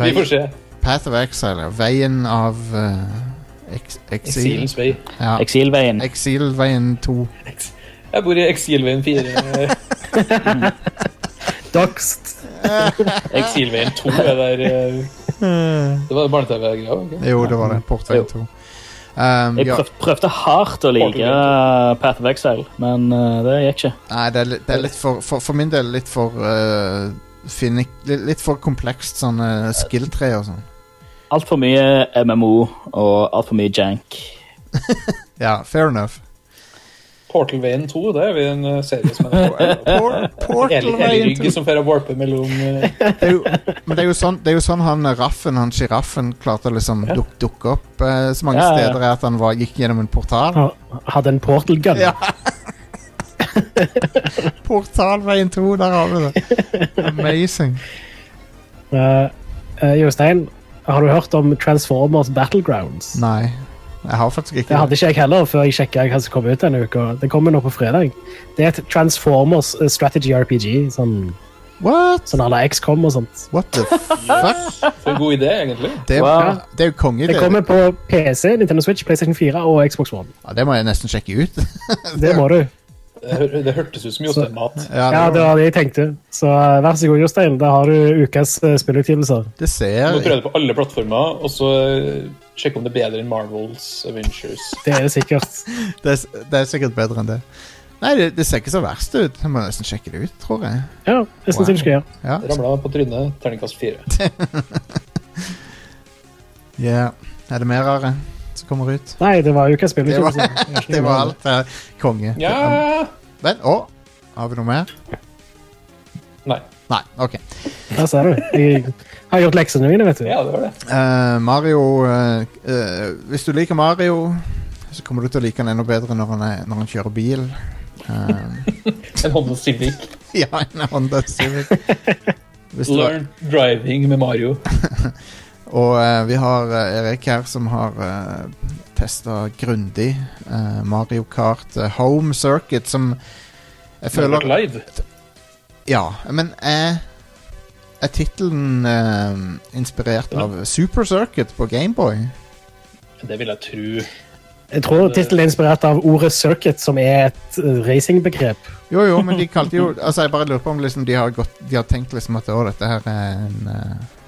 Vi får se.
Path of Exile. ja. Veien av eh, eks- eksil.
Eksilens vei.
Ja.
Eksilveien.
Eksilveien 2.
Jeg bor i Eksilveien 4.
Doxt.
Eksilveien 2 er der eh, Det var barne-TV-greia? ikke?
Jo, det var det. Portveien 2.
Jo.
Um,
Jeg
ja.
prøv, prøvde hardt å like eh, Path of Exile, men eh, det gikk ikke.
Nei, det er, litt- det er litt for, for For min del litt for eh, finnik, litt, litt for komplekst sånn eh, skill-tre og sånn.
Altfor mye MMO og altfor mye jank.
Ja, fair enough.
Portalveien 2, det er vi en eh, serie som er
Por
Eli Eli
Portalveien
Rygg som får warpe mellom eh,
det er jo, men det er jo sånn, det er jo sånn han eh, Raffen, han sjiraffen, klarte å liksom duk, dukke opp eh, så mange
Ja, ja, ja.
steder er at han var, gikk gjennom en portal.
Ha- Hadde en portal gun.
Ja. Portalveien 2, der har vi det. Amazing.
Eh, eh, Jostein, har du hørt om Transformers Battlegrounds?
Nei, jeg har faktisk ikke
Det hadde ikke jeg heller før jeg sjekka hva som kom ut denne uka. Det kommer nå på fredag. Det er et Transformers eh, strategy RPG. Sånn,
What?
sånn à la XCOM og sånt.
What the fuck?
For en god idé, egentlig.
Det,
Wow.
det er jo konge,
Det
det.
kommer på PC, Nintendo Switch, PlayStation 4 og Xbox One.
Ja, det må jeg nesten sjekke ut.
Det må du.
Det, hør- det hørtes ut som Jostein Mat.
Ja, det var det jeg tenkte. Så eh, vær så god, Jostein. Da har du ukas eh, spillutgivelser.
det
Du må
ser
prøve det på alle plattformer, og så eh, sjekke om det er bedre enn Marvels Avengers.
Det er det sikkert.
det, er- det er sikkert bedre enn det. Nei, det, det ser ikke så verst ut. Jeg må nesten sjekke det ut, tror jeg.
Ja, jeg syns
Wow.
du skal gjøre.
Ja.
Ramla på trynet, terningkast 4.
Ja. Er det mer rare som kommer ut?
Nei, det var ukas
Det var,
spillutgivelse.
det var alt. eh, konge.
Ja
Men å, har vi noe mer?
Nei.
Nei, OK.
Der ser du. Jeg har gjort leksene mine, vet du.
Ja, det var det.
Eh, Mario eh, eh, Hvis du liker Mario, så kommer du til å like han enda bedre når han, er, når han kjører bil. Eh,
En Honda Civic.
ja, en Honda Civic. Hvis du-
Learn driving med Mario.
Og eh, vi har eh, Erik her som har uh, testa grundig eh, Mario Kart eh, Home Circuit, som jeg
Føler
føler
live.
Ja, men er, er tittelen eh, inspirert av Super Circuit på Gameboy?
Det vil jeg tro.
Jeg tror tittelen er inspirert av ordet circuit, som er et eh, racingbegrep.
Jo, jo, men de kalte jo Altså, jeg bare lurer på om liksom de har, gått, de har tenkt liksom at å, dette her er en eh,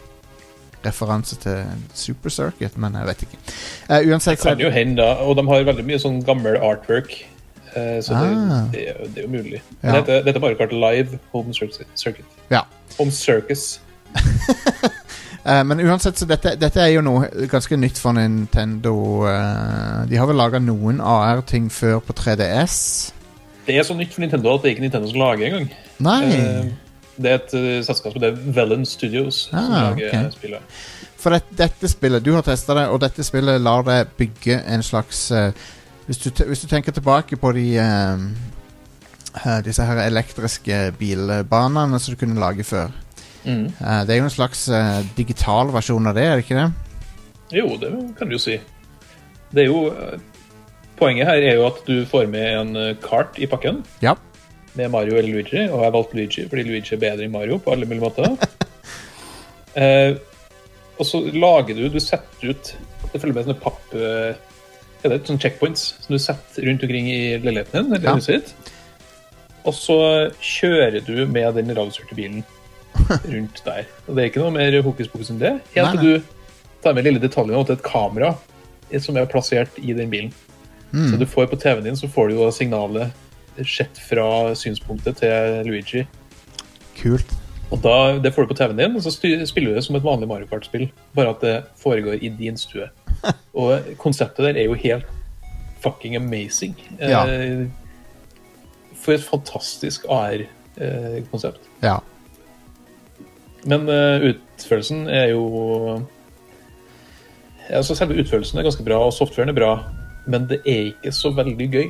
referanse til Super Circuit, men jeg vet ikke. Eh, uansett så
Kan jo hende, da. Og de har veldig mye sånn gammel artwork. eh, Så det,
Ah.
det, er jo- det er jo mulig.
Ja.
Men dette, dette er Mario Kart Live Home Circuit. circuit.
Ja.
Home Circus.
Eh, men uansett, så dette, dette er jo noe ganske nytt for Nintendo. eh, de har vel laga noen AR-ting før på 3DS?
Det er så nytt for Nintendo at det er ikke Nintendo som lager engang.
Nei!
Eh, Det er et eh, selskap som heter Velen Studios som
Ah,
lager
ok.
eh, spillet.
For det, dette spillet, du har testa det, og dette spillet lar deg bygge en slags eh, hvis, du te- hvis du tenker tilbake på de eh, eh, disse her elektriske bilbanene som du kunne lage før.
Mm.
Eh, det er jo en slags eh, digital versjon av det, er det ikke det?
Jo, det kan du jo si. Det er jo eh, Poenget her er jo at du får med en eh, kart i pakken.
Ja.
med Mario eller Luigi, og jeg har valgt Luigi fordi Luigi er bedre enn Mario på alle mulige måter. eh, og så lager du Du setter ut Det følger med sånne papp... eh, Er det sånne checkpoints som du setter rundt omkring i leiligheten din? eller
Ja.
huset ditt? Og så kjører du med den ravsurte bilen rundt der. Og det er ikke noe mer hokus pokus enn det. Helt
Nei,
til du tar med lille detaljen om at det er et kamera som er plassert i den bilen.
Hmm.
Så du får på TV-en din så får du jo da signalet sett fra synspunktet til Luigi.
Kult.
Og da, Det får du på TV-en din, og så styr- spiller du det som et vanlig Mario Kart-spill. Bare at det foregår i din stue. Og konseptet der er jo helt fucking amazing. Eh,
Ja.
For et fantastisk AR-konsept.
Ja.
Men eh, utførelsen er jo altså Selve utførelsen er ganske bra, og softwaren er bra, men det er ikke så veldig gøy.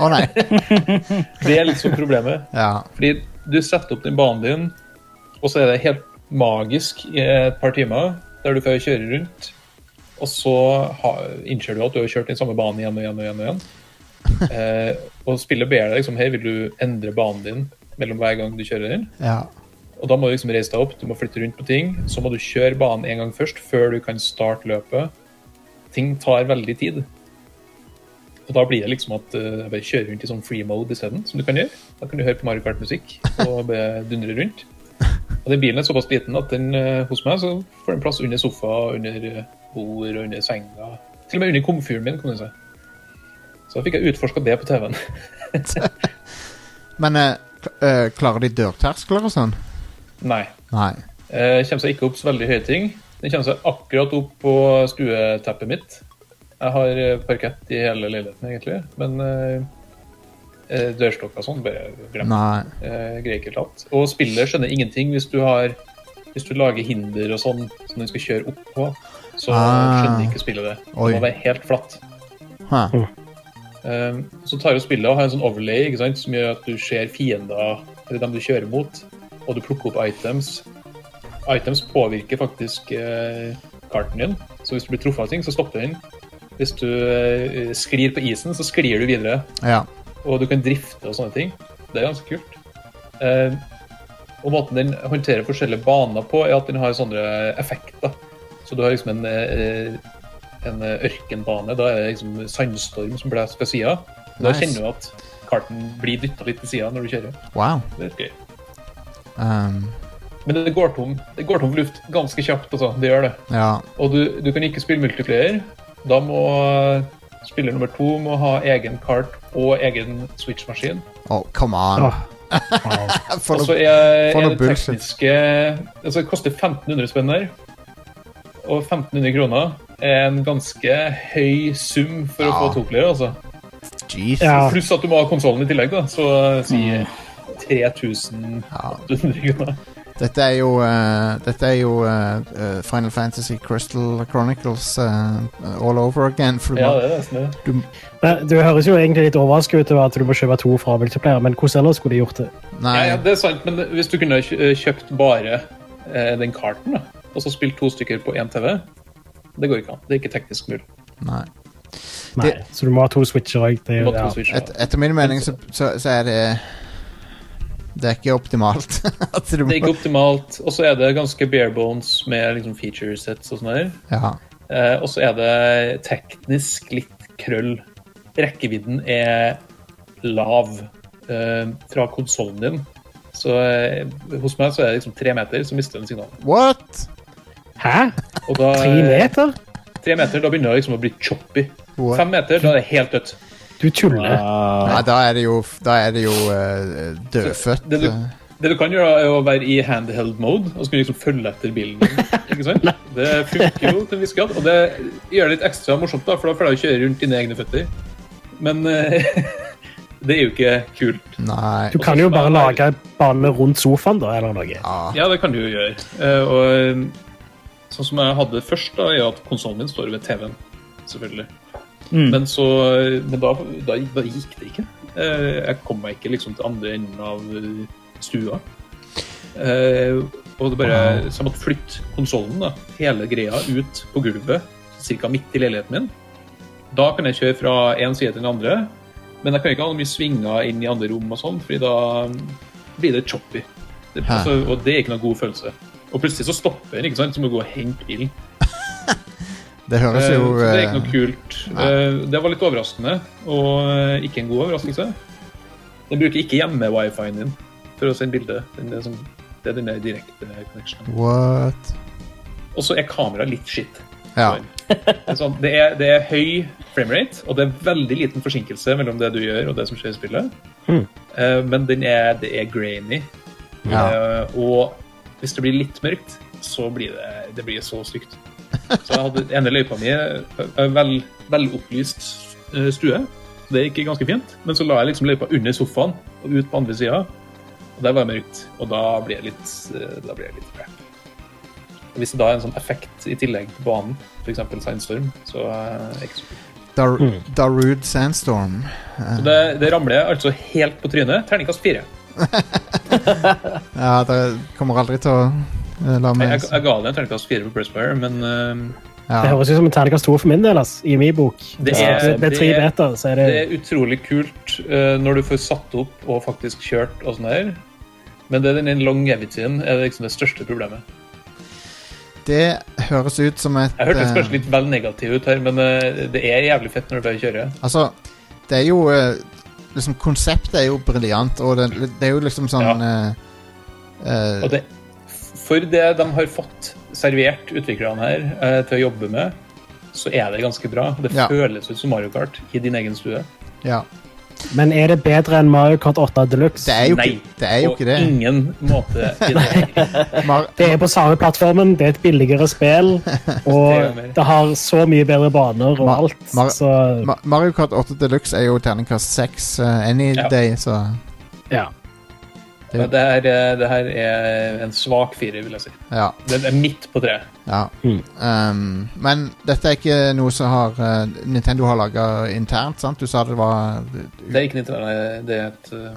Å nei.
Det er liksom problemet.
Ja.
Fordi du setter opp den banen din, og så er det helt magisk i et par timer, der du kan kjøre rundt, og så har, innser du at du har kjørt den samme banen igjen og igjen og igjen. Og, igjen. Eh, og spillet ber deg liksom, hei, vil du endre banen din mellom hver gang du kjører den?
ja.
Og da må du liksom reise deg opp, du må flytte rundt på ting, så må du kjøre banen en gang først, før du kan starte løpet. Ting tar veldig tid. Og da blir det liksom at eh, jeg bare kjører rundt i sånn free mode isteden, som du kan gjøre. Da kan du høre på Mario Kart-musikk og bare dundre rundt. Og den bilen er såpass liten at den eh, hos meg så får den plass under sofa, under eh, bord og under senga. Til og med under komfyren min, kan du si. Så da fikk jeg utforska det på TV-en.
Men eh, kl- eh, klarer de dørterskler og sånn?
Nei.
Nei.
Eh, kommer seg ikke opp så veldig høye ting. Den kommer seg akkurat opp på stueteppet mitt. Jeg har eh, parkett i hele leiligheten, egentlig, men eh, eh, dørstokker og sånn bare glem.
Nei.
Eh, greier ikke helt alt. Og spillet skjønner ingenting hvis du har hvis du lager hinder og sånn som den skal kjøre opp på, så
Ah.
skjønner ikke spillet det. Det
Oi.
må være helt flatt.
Hæ.
Eh, så tar jo spillet og har en sånn overlay ikke sant, som gjør at du ser fiender, eller dem du kjører mot, og du plukker opp items. Items påvirker faktisk eh, karten din, så hvis du blir truffet av ting, så stopper den. Hvis du eh, sklir på isen, så sklir du videre,
Ja.
og du kan drifte og sånne ting. Det er ganske kult. Eh, og måten den håndterer forskjellige baner på, er at den har sånne effekter. Så du har liksom en, eh, en ørkenbane. Da er det liksom sandstorm som blåser fra sida. Da
Nice.
kjenner du at karten blir dytta litt til sida når du kjører.
Wow.
Det er litt gøy.
Um,
Men det går tom det går tom for luft ganske kjapt. Altså. Det gjør det.
ja.
Og du, du kan ikke spille multiplayer. Da må spiller nummer to må ha egen kart og egen switch-maskin.
Oh, come on.
Åh.
For
Ah. Og så
noe
Altså, er,
for
er
noe
det
bullshit.
tekniske altså Det koster 1500 spenn der. Og 1500 kroner er en ganske høy sum for å
Ja.
få toplayer. altså.
Jesus.
Ja.
Pluss at du må ha konsollen i tillegg, da. Så si 3800 kroner.
Dette er jo, eh, dette er jo eh, eh, Final Fantasy Crystal Chronicles eh, all over again. For du
Ja,
må-
det er nesten det.
Men Du høres jo egentlig litt overrasket ut over at du må kjøpe to fra multiplayer, men hvordan ellers skulle de gjort det?
Nei,
Ja, ja, det er sant, men hvis du kunne kjø- kjøpt bare eh, den karten, da, og så spilt to stykker på én TV det går ikke an. Det er ikke teknisk mulig.
nei.
Nei,
Det-
Så du må ha to switcher òg. Det, er
Du
jo-
må ha
ja.
to switcher.
Et, etter min mening så, så, så er det Det er ikke optimalt. At du
Det er ikke
må,
optimalt. Og så er det ganske bare bones med liksom feature sets og sånn her.
ja.
Eh, og så er det teknisk litt krøll. Rekkevidden er lav eh, fra konsollen din. Så eh, hos meg så er det liksom tre meter, så mister den signalet.
What?
Hæ?
Og da, eh,
Tre meter?
Tre meter, da begynner det liksom å bli choppy.
What?
Fem meter, da er det helt dødt.
Du tuller.
Nei, da er det jo, da er det jo eh, dødfødt.
Det du,
eh.
det du kan gjøre, da, er å være i handheld mode og så kan du liksom følge etter bilen. din, Ikke sant? Det funker jo til en viss grad, og det gjør det litt ekstra morsomt, da, for da får du kjøre rundt dine egne føtter. Men eh, det er jo ikke kult.
Nei.
Du kan jo bare lage en bane rundt sofaen, da, eller noe.
Ja, det kan du jo gjøre. Eh, Og eh, sånn som jeg hadde først, da, er jo at konsollen min står ved TV-en, selvfølgelig. Men så Men da, da, da gikk det ikke. Eh, Jeg kom meg ikke liksom til andre enden av eh, stua. Eh, Og det bare Så jeg måtte flytte konsollen, da, hele greia, ut på gulvet, ca. midt i leiligheten min. Da kan jeg kjøre fra én side til den andre, men jeg kan ikke ha mye svinger inn i andre rom, og sånn, fordi da eh, blir det choppy. Det,
Hæ.
altså, og det er ikke noen god følelse. Og plutselig så stopper den, ikke sant, så må du gå og hente bilen.
Det høres
Eh,
jo
så det er ikke
eh,
noe kult. Eh, Det var litt overraskende, og eh, ikke en god overraskelse. Den bruker ikke hjemme-wifien din for å sende bilde. Den er sånn- Det er den der direkte connectionen.
What?
Og så er kameraet litt skitt.
Ja.
Det er Sånn, det, er, det er høy framerate, og det er veldig liten forsinkelse mellom det du gjør og det som skjer i spillet. Eh, men den er, det er grainy.
ja.
Eh, og hvis det blir litt mørkt, så blir det, det blir så stygt. Så jeg hadde den ene løypa mi eh, vel, velopplyst eh, stue. Det gikk ganske fint. Men så la jeg liksom løypa under sofaen og ut på andre sida. Og der var det mørkt. Og da blir det litt, eh, da blir det litt crap. Og hvis det da er en sånn effekt i tillegg på banen, f.eks. Sandstorm, så eh, er det ikke så kult.
Dar
Hmm.
Darude Sandstorm.
Så
Ah.
det, det ramler jeg altså helt på trynet. Terningkast fire.
Ja, det kommer aldri til å eh, la
Jeg, jeg,
meg
jeg ga det en terningkast fire på Pressfire, men eh,
Det
ja.
høres ut som en terningkast to for min del. ass, i min bok.
Det
Hvis
er-
det er tre
det er-
beter, så er det
Det er utrolig kult eh, når du får satt opp og faktisk kjørt og sånn her. Men det er den longevityen er liksom det største problemet.
Det høres ut som et
Jeg hørtes
eh,
kanskje litt vel negativ ut her, men eh, det er jævlig fett når du bare kjører.
Altså, det er jo eh, liksom, Konseptet er jo briljant, og det, det er jo liksom sånn eh, eh,
Og det, for det de har fått servert utviklerne her eh, til å jobbe med, så er det ganske bra. Det
Ja.
føles ut som Mario Kart i din egen stue.
Ja.
Men er det bedre enn Mario Kart 8 Deluxe?
Det er jo,
Nei,
ikke, det er jo
på
ikke det.
ingen måte. I det.
Mar
Det er på samme plattformen, det er et billigere spill, og
mer.
det har så mye bedre baner og
Ma-
alt,
Mar-
så
Ma Mario Kart 8 Deluxe er jo terningkast 6 any
Ja.
day, så
ja.
Men Det her, eh, det her er en svak firer, vil jeg si.
ja.
Det er midt på treet.
ja.
Mm.
Um, men dette er ikke noe som har eh, Nintendo har laga internt, sant? Du sa det var
Det er ikke Nintendo, det er et eh,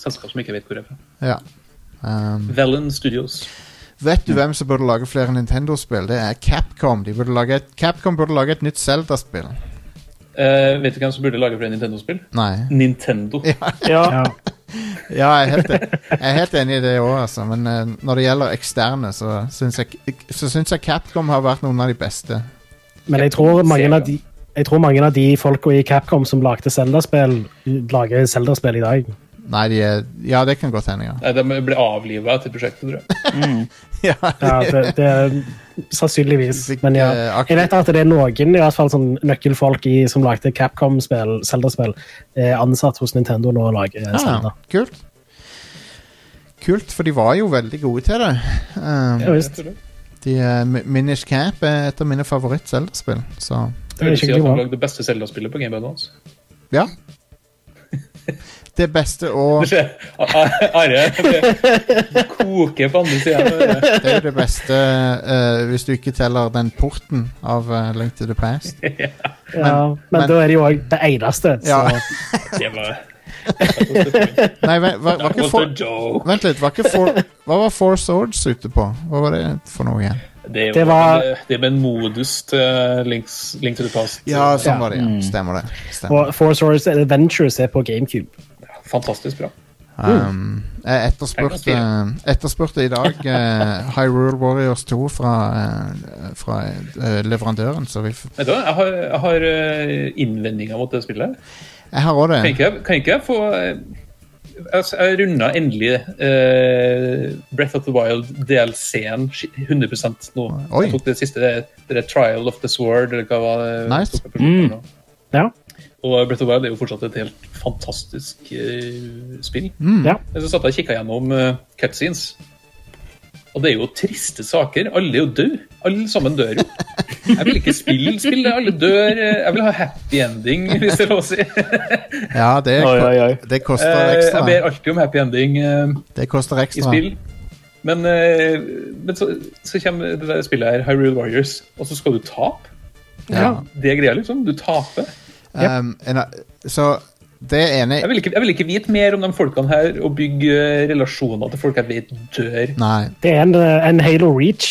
selskap som ikke vet hvor det er fra.
Ja. Um,
Velen Studios.
vet du hvem som burde lage flere Nintendo-spill? Det er Capcom. De burde lage et, Capcom burde lage et nytt Zelda-spill.
Eh, vet du hvem som burde lage flere Nintendo-spill?
Nei.
Nintendo.
Ja,
ja.
Ja, jeg er helt, e- jeg er helt enig i det òg, altså. Men eh, når det gjelder eksterne, så syns jeg, så syns jeg Capcom har vært noen av de beste.
Men jeg tror mange
Sega.
av de jeg tror mange av de folka i Capcom som lagde Zelda-spill, lager Zelda-spill i dag.
Nei, de er Ja, det kan godt hende, ja.
Nei, de ble avliva etter prosjektet, tror jeg.
ja.
Ja, det, det er Sannsynligvis.
Fikk,
Men ja.
eh, ak-
Jeg vet at det er noen i hvert fall sånn nøkkelfolk i, som lagde Capcom-spill, Zelda-spill, er ansatt hos Nintendo nå og lager eh, Zelda.
Ah, kult. Kult, for de var jo veldig gode til det. Um,
Ja, visst.
Jeg tror det.
de, eh, Mi- Minish Camp er et av mine favoritt-Zelda-spill, så
Det
Jeg
er
vil si at
skikkelig
de
bra.
lagde det beste Zelda-spillet på Game Boy Advance.
ja. Det beste
Du
og
ser, A- A- Are det koker på andre sida.
Det er jo det beste eh, hvis du ikke teller den porten av eh, Link to the Past.
Ja, men,
men-
da er det jo òg det eneste. Så.
Ja.
Det var
Nei, vent, var, var
That
ikke
was
for,
a joke.
Vent litt, var ikke for, hva var Four Swords ute på? Hva var det for noe igjen?
Det
Det
var
var-
Det med en modus til Links, Link to the Past.
Ja, sånn var det, ja. Stemmer det. Stemmer.
Og Force Wars Adventures er på GameCube.
Fantastisk bra.
Um, jeg etterspurte, etterspurte i dag eh, Hyrule Warriors 2 fra, eh, fra eh, leverandøren, så vi f
Vet du hva, jeg har, jeg har eh, innvendinger mot det spillet.
Jeg har òg det.
Kan ikke, jeg- kan ikke jeg få eh, altså, Jeg runda endelig eh, Breath of the Wild DLC-en 100 nå.
Oi.
Jeg tok det siste, det, det der Trial of the Sword, eller hva var det?
Nice.
tok jeg først nå.
Ja.
Og Breath of the Wild er jo fortsatt et helt fantastisk eh, spill.
Mm.
ja.
Men så satt jeg og kikka gjennom eh, cutscenes. Og det er jo triste saker. Alle er jo døde. Alle sammen dør jo. Jeg vil ikke spille spill. Alle dør. eh, Jeg vil ha happy ending, hvis det er lov å si.
Ja, det,
Oi, oi, oi.
det koster
Eh, Jeg ber
ekstra.
alltid om happy ending eh,
Det koster
i
ekstra.
spill. Men, eh, men så, så kommer det der spillet her, Hyrule Warriors, og så skal du tape.
Ja.
Det er greia, liksom. Du taper.
Um, en, a- så det ene
Jeg vil, ikke, jeg vil ikke vite mer om de folkene her og bygge eh, relasjoner til folk jeg vet dør.
Nei.
Det er en, eh, en Halo Reach.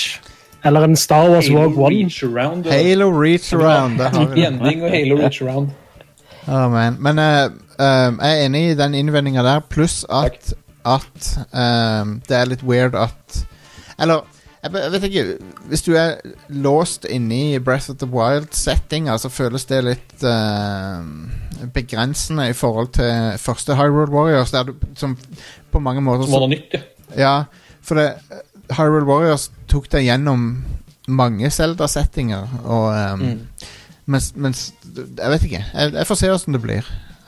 Eller en Star Wars Rogue
Halo
One.
Reach altså. Around. og-
Halo Reach Around. Der har vi
Happy
det.
ending og Halo Reach Around.
Oh, man. Men eh, eh, jeg er enig i den innvendinga der, pluss at, at eh, det er litt weird at Eller Jeg, be- jeg vet ikke, Hvis du er låst inni Breath of the Wild-settinga, så føles det litt eh, begrensende i forhold til første Hyrule Warriors, der du, som på mange måter
Som var noe nytt, ja.
Ja, for det, eh, Hyrule Warriors tok deg gjennom mange Zelda-settinger, og um,
Mm.
mens, mens Jeg vet ikke. Jeg, jeg får se åssen det blir.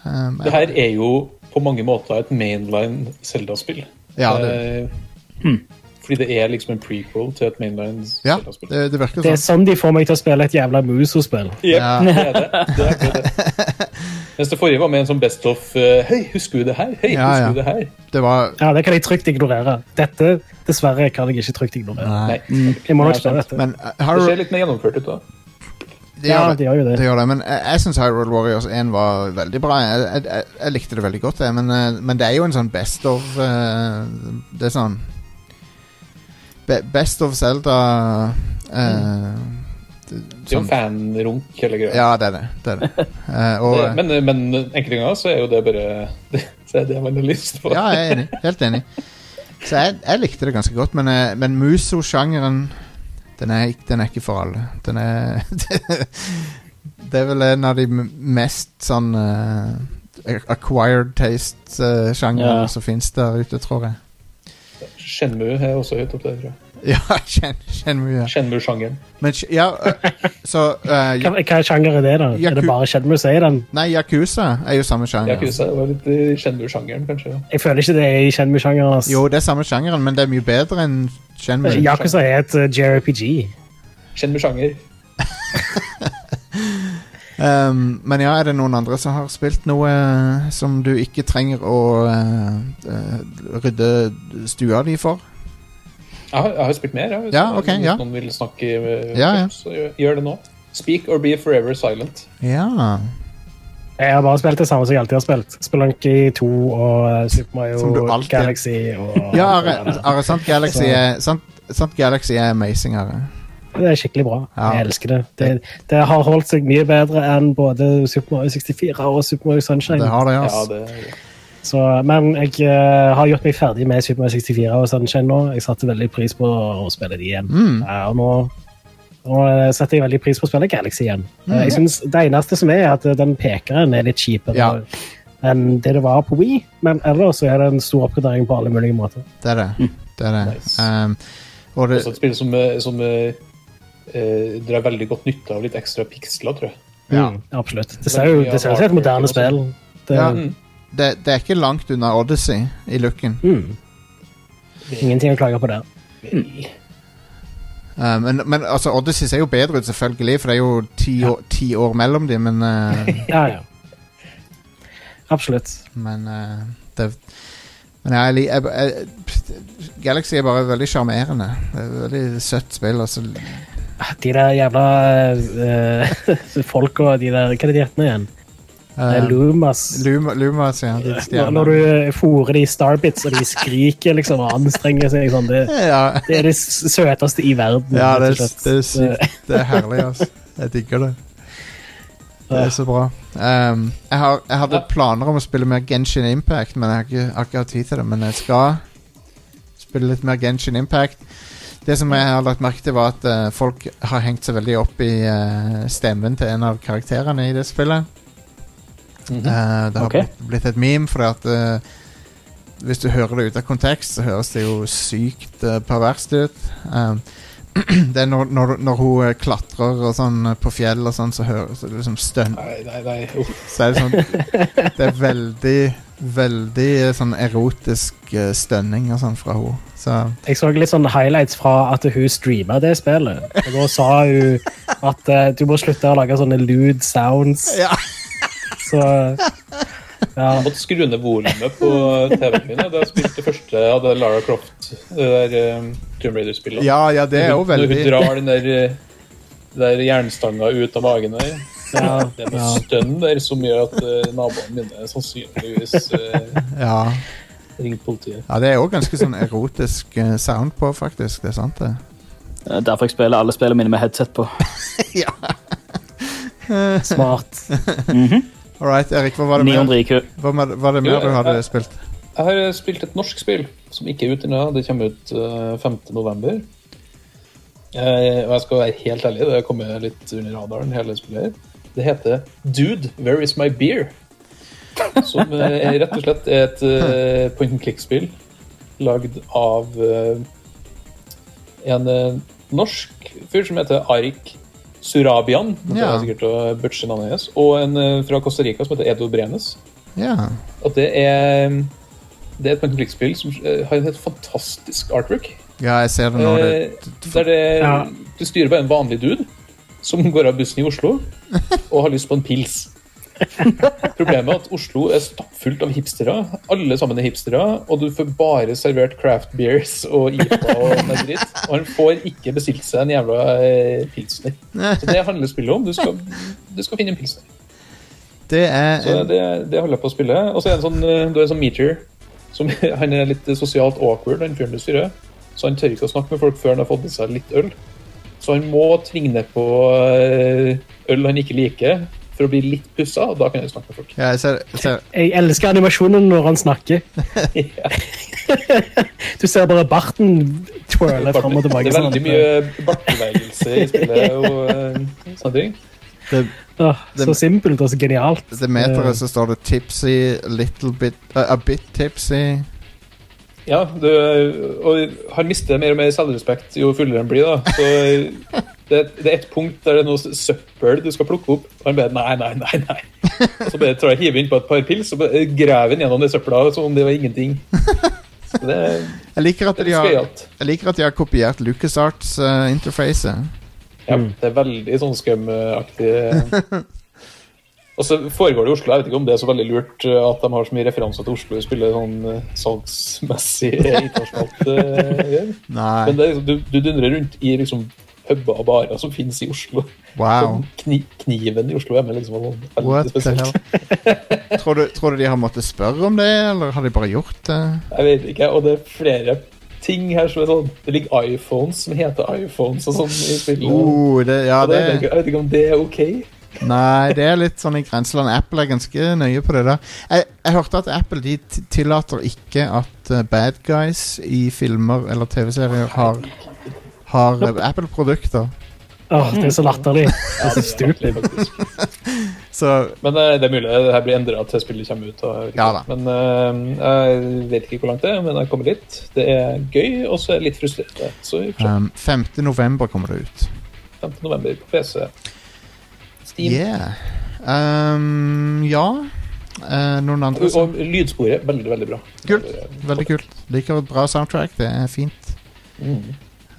Um,
Det her er jo på mange måter et mainline Zelda-spill.
ja, det, Hmm.
Eh, Fordi det er liksom en prequel til et mainline
ja,
Zelda-spill.
det, det virker
Det er
sånn.
sånn de får meg til å spille et jævla Muso-spill.
Jep,
Ja.
det er det. det, er akkurat det. Mens det forrige var med en sånn best of eh, Hei, husker du det her? Hei,
Ja,
husker
ja.
du det her?
Det var
Ja, det kan jeg trygt ignorere. Dette, dessverre, kan jeg ikke trygt ignorere.
Nei.
Nei.
Jeg må nok
Nei,
spille
sant.
dette.
Men uh,
Det
Hyrule
ser litt mer gjennomført ut, da.
det
Ja,
gjør det.
det gjør jo det.
Det gjør det, men jeg, jeg syns Hyrule Warriors 1 var veldig bra. Jeg, jeg, jeg, jeg likte det veldig godt, jeg, men, eh, men det er jo en sånn best of eh, Det er sånn be, Best of Zelda eh,
Mm. Det er
Sånn.
jo fanrunk, hele greia.
Ja, det er det. det, er det. Eh, og,
Det- Men, men enkelte ganger så er jo det bare det, det er det man har lyst på.
ja, jeg er enig. Helt enig. Så jeg, jeg likte det ganske godt, men, eh, men muso-sjangeren den er, ikke- den er ikke for alle. Den er Det er vel en av de m- mest sånn eh, acquired taste-sjangrene
Ja.
som fins der ute, tror jeg.
Shenmue er også høyt opp der, tror jeg.
Ja, kjenn, kjenn mye.
Shenmue-sjangeren.
Men sk- ja, eh, så eh,
Hva,
ja,
hva sjanger er det, da? Er det
Yaku-
bare Shenmue som er i den?
Nei, Yakuza er jo samme sjanger.
Yakuza var litt i Shenmue-sjangeren, kanskje.
Jeg føler ikke det er i Shenmue-sjangeren. ass.
Jo, det er samme sjangeren, men det er mye bedre enn Shenmue.
Yakuza er et eh, JRPG.
Shenmue-sjanger.
Um, men ja, er det noen andre som har spilt noe eh, som du ikke trenger å eh, eh, rydde stua di for?
Jeg har, jeg har spilt mer, ja. Hvis
Ja, ok,
hvis
ja.
noen vil snakke, eh,
Ja, ja.
så gjør, gjør det nå. Speak or be forever silent.
Ja.
Jeg har bare spilt det samme som jeg alltid har spilt. Spelunky 2 og eh, Super
Som du
Mario
alltid-
Galaxy. Og,
Ja, Are, Are sant Galaxy er sant, sant Galaxy er amazing, Are.
Det er skikkelig bra.
Ja.
Jeg elsker det. det. Det har holdt seg mye bedre enn både Super Mario 64 og Super Mario Sunshine.
Det har det,
Ja,
altså.
det
Så, men jeg eh, har gjort meg ferdig med Super Mario 64 og Sunshine nå. Jeg satte veldig pris på å spille de igjen.
Mm.
Ja, og nå, nå eh, setter jeg veldig pris på å spille Galaxy igjen.
Mm.
Eh, jeg synes Det eneste som er, er at eh, den pekeren er litt kjipere
Ja.
enn det det var på Wii, men ellers så er det en stor oppgradering på alle mulige måter.
Det er det. det, er det.
Hm. Nice.
Um, og det
Også et spill som, eh, som eh, eh, drar veldig godt nytte av litt ekstra piksler, tror jeg.
Ja.
Mm, absolutt. Det ser jo det ser ut som et moderne spill. Det,
ja, det, det er ikke langt unna Odyssey i looken.
Hm.
mm. Ingenting å klage på der.
Uh, men, men altså, Odyssey ser jo bedre ut, selvfølgelig, for det er jo ti, år, ti år mellom dem, men uh,
Ja, ja. Absolutt.
Men eh, det Men jeg, li- jeg, jeg Galaxy er bare veldig sjarmerende. Det er et Veldig søtt spill. Altså.
De der jævla uh, folka, de der Hva er det de heter nå igjen? Det er
Eh,
Lumas.
Luma, Lumas, ja. De
Når- Når
stjernene.
du fôrer de i Starbits, og de skriker liksom og anstrenger seg. Liksom. Det,
Ja,
det er det s- søteste i verden.
ja det,
rett
er-
og slett.
det er sykt. Det er herlig, altså. Jeg digger det. Det er så bra. Ehm, jeg, har, jeg hadde planer om å spille mer Genshin Impact, men jeg har ikke, har ikke hatt tid til det. Men jeg skal spille litt mer Genshin Impact. Det som jeg har lagt merke til, var at eh, folk har hengt seg veldig opp i eh, stemmen til en av karakterene i det spillet. Eh,
Mhm.
det har
Ok.
blitt, blitt et meme, fordi at eh, hvis du hører det ut av kontekst, så høres det jo sykt eh, perverst ut. Eh, det er når, når, når hun eh, klatrer og sånn eh, på fjell og sånn, så høres det liksom stønn
Nei, nei, nei. uff.
Så er det sånn Det er veldig, veldig eh, sånn erotisk eh, stønning og sånn fra henne. Så
Jeg så litt sånn highlights fra at hun streama det spillet. Og da sa hun at eh, du må slutte å lage sånne lewd sounds.
Ja.
Så ja.
Jeg måtte skru ned volumet på TV-en min. ja, Da jeg spilte det første av det Lara Croft, det der um, Tomb Raider-spillet.
Ja, ja, det er jo
Når hun
veldig
drar den der, eh, den der jernstanga ut av magen der.
Ja,
Det er noe
ja.
stønn der som gjør at eh, naboene mine sannsynligvis eh,
Ja,
ringer politiet.
ja det er òg ganske sånn erotisk eh, sound på, faktisk. Det er sant, det.
Det er Derfor Eh, jeg spiller alle spillene mine med headset på.
Smart.
All right, Erik, hva var det
Neon
mer,
IQ.
hva var hva var det
Jo,
mer du hadde
jeg-
spilt?
Jeg har spilt et norsk spill som ikke er ute ennå. Det kommer ut eh, 5. eh, november. Eh, og jeg skal være helt ærlig, det kommer litt under radaren, hele spillet. her. Det heter Dude, where is my beer? Som eh, er rett og slett er et eh, point and click-spill lagd av eh, en eh, norsk fyr som heter Arik Surabian. Det
Ja.
er sikkert å butche navnet hans. Og en eh, fra Costa Rica som heter Edo Brenes.
Ja.
Og det er, det er et point and click-spill som eh, har et helt fantastisk artwork.
ja, jeg ser det nå.
Eh,
Det,
Der det,
Ja.
du styrer bare en vanlig dude som går av bussen i Oslo og har lyst på en pils. Problemet er at Oslo er stappfullt av hipstere. Alle sammen er hipstere, og du får bare servert craft beers og IPA og med dritt. Og han får ikke bestilt seg en jævla eh, pilsner. Så det handler spillet om. Du skal, du skal finne en pilsner.
det er
Eh, Så det, det holder jeg på å spille. Og så er det en sånn, eh, du er en sånn meter. Som, han er litt sosialt awkward, han fyren du styrer. Så han tør ikke å snakke med folk før han har fått i seg litt øl. Så han må tvinge ned på eh, øl han ikke liker, for å bli litt pussa. og Da kan han snakke med folk.
ja, jeg ser, jeg ser.
Jeg elsker animasjonen når han snakker. du ser bare barten twirle fram og tilbake.
det er
sånn.
veldig mye bartbevegelse i spillet og eh, sånne ting.
Det,
Åh, så simpelt og så genialt.
det meteret så står det 'tipsy little bit eh, A bit tipsy'.
Ja, du, og han mister mer og mer selvrespekt jo fullere han blir. da Så det, det er et punkt der det er noe søppel du skal plukke opp, og han bare nei, nei, nei. nei Og Så bare tar jeg hiver inn på et par pils og bare graver han gjennom det søpla som om det var ingenting. Så det,
Jeg liker at
det er
de
litt
har,
skøyalt.
jeg liker at de har kopiert eh, LucasArts-interfacet.
Ja, det er veldig sånn skum-aktig. Og så foregår det i Oslo. Jeg vet ikke om det er så veldig lurt eh, at de har så mye referanser til Oslo i spillet sånn eh, salgsmessig eh, internasjonalt. eh, gjør.
Nei,
Men det er liksom, du, du dundrer rundt i liksom puber og barer som finnes i Oslo.
wow.
Kni, kniven i Oslo er med, liksom. og sånn. Veldig
What the
spesielt.
hell? Tror du, tror du de har måttet spørre om det, eller har de bare gjort det?
Jeg vet ikke, og det er flere ting her som er sånn Det ligger iPhones som heter iPhones og sånn i spillet.
Oh, det, ja,
Og det, jeg vet
det,
ikke- jeg vet ikke om det er OK.
nei, det er litt sånn i grenseland. Apple er ganske nøye på det der. Jeg, jeg hørte at Apple de t- tillater ikke at eh, bad guys i filmer eller TV-serier har, har eh, Apple-produkter.
Åh, det er så latterlig. Det er så stupid.
Artig, faktisk.
Så
Men eh, det er mulig det her blir endra til spillet kommer ut. Og, jeg vet ikke.
Ja da.
Men eh, jeg vet ikke hvor langt det er, men jeg kommer litt. Det er gøy, og så er jeg litt frustrert. Så vi får se.
um, 5. november kommer det ut.
15. november på PC. Steam.
Yeah. Um, ja. Eh, noen andre?
Og, og lydsporet veldig, veldig bra.
Kult. Veldig kult. Liker et bra soundtrack. Det er fint.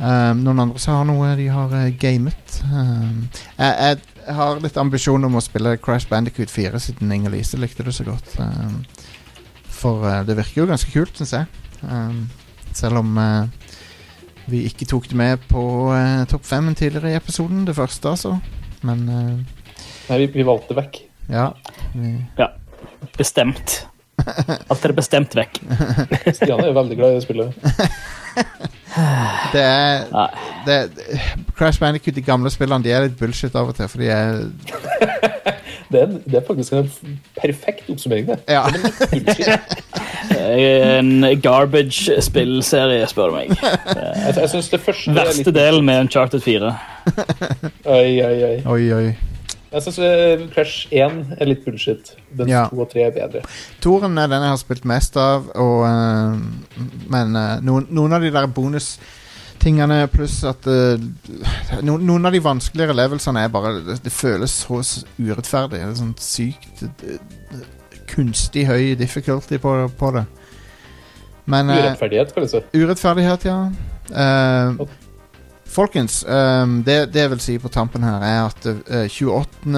Um, noen andre som har noe de har eh, gamet. Um, jeg, jeg har litt ambisjon om å spille Crash Bandicoot 4 siden Inger-Lise likte det så godt. Um, for eh, det virker jo ganske kult, syns jeg. Um, selv om eh, vi ikke tok det med på eh, topp fem tidligere i episoden, det første, altså. Men eh,
Nei, vi, vi valgte vekk.
ja. Vi
Bestemt. Alt er bestemt vekk.
Stian er jo veldig glad i det spillet.
Det er,
Nei.
det Crash Bandicoot, de gamle spillene, de er litt bullshit av og til, for de er
Det er, det er faktisk en perfekt oppsummering, det.
Ja.
Bullshit.
Eh, En garbage-spillserie, spør du meg.
Jeg, jeg synes det første er
Verste
litt
delen med Uncharted 4.
Oi, oi, oi.
Oi, oi.
Jeg syns eh, Crash 1 er litt bullshit. Den
Ja.
2 og 3 er bedre.
Toren er den jeg har spilt mest av, og eh, Men eh, noen, noen av de der bonustingene, pluss at eh, noen, noen av de vanskeligere levelsene er bare Det, det føles så s- urettferdig. Det er sånn sykt eh, kunstig høy difficulty på, på det. Men eh,
Urettferdighet, kalles det.
Urettferdighet, ja. Eh,
Ok.
folkens, eh, det, det jeg vil si på tampen her, er at eh, 28.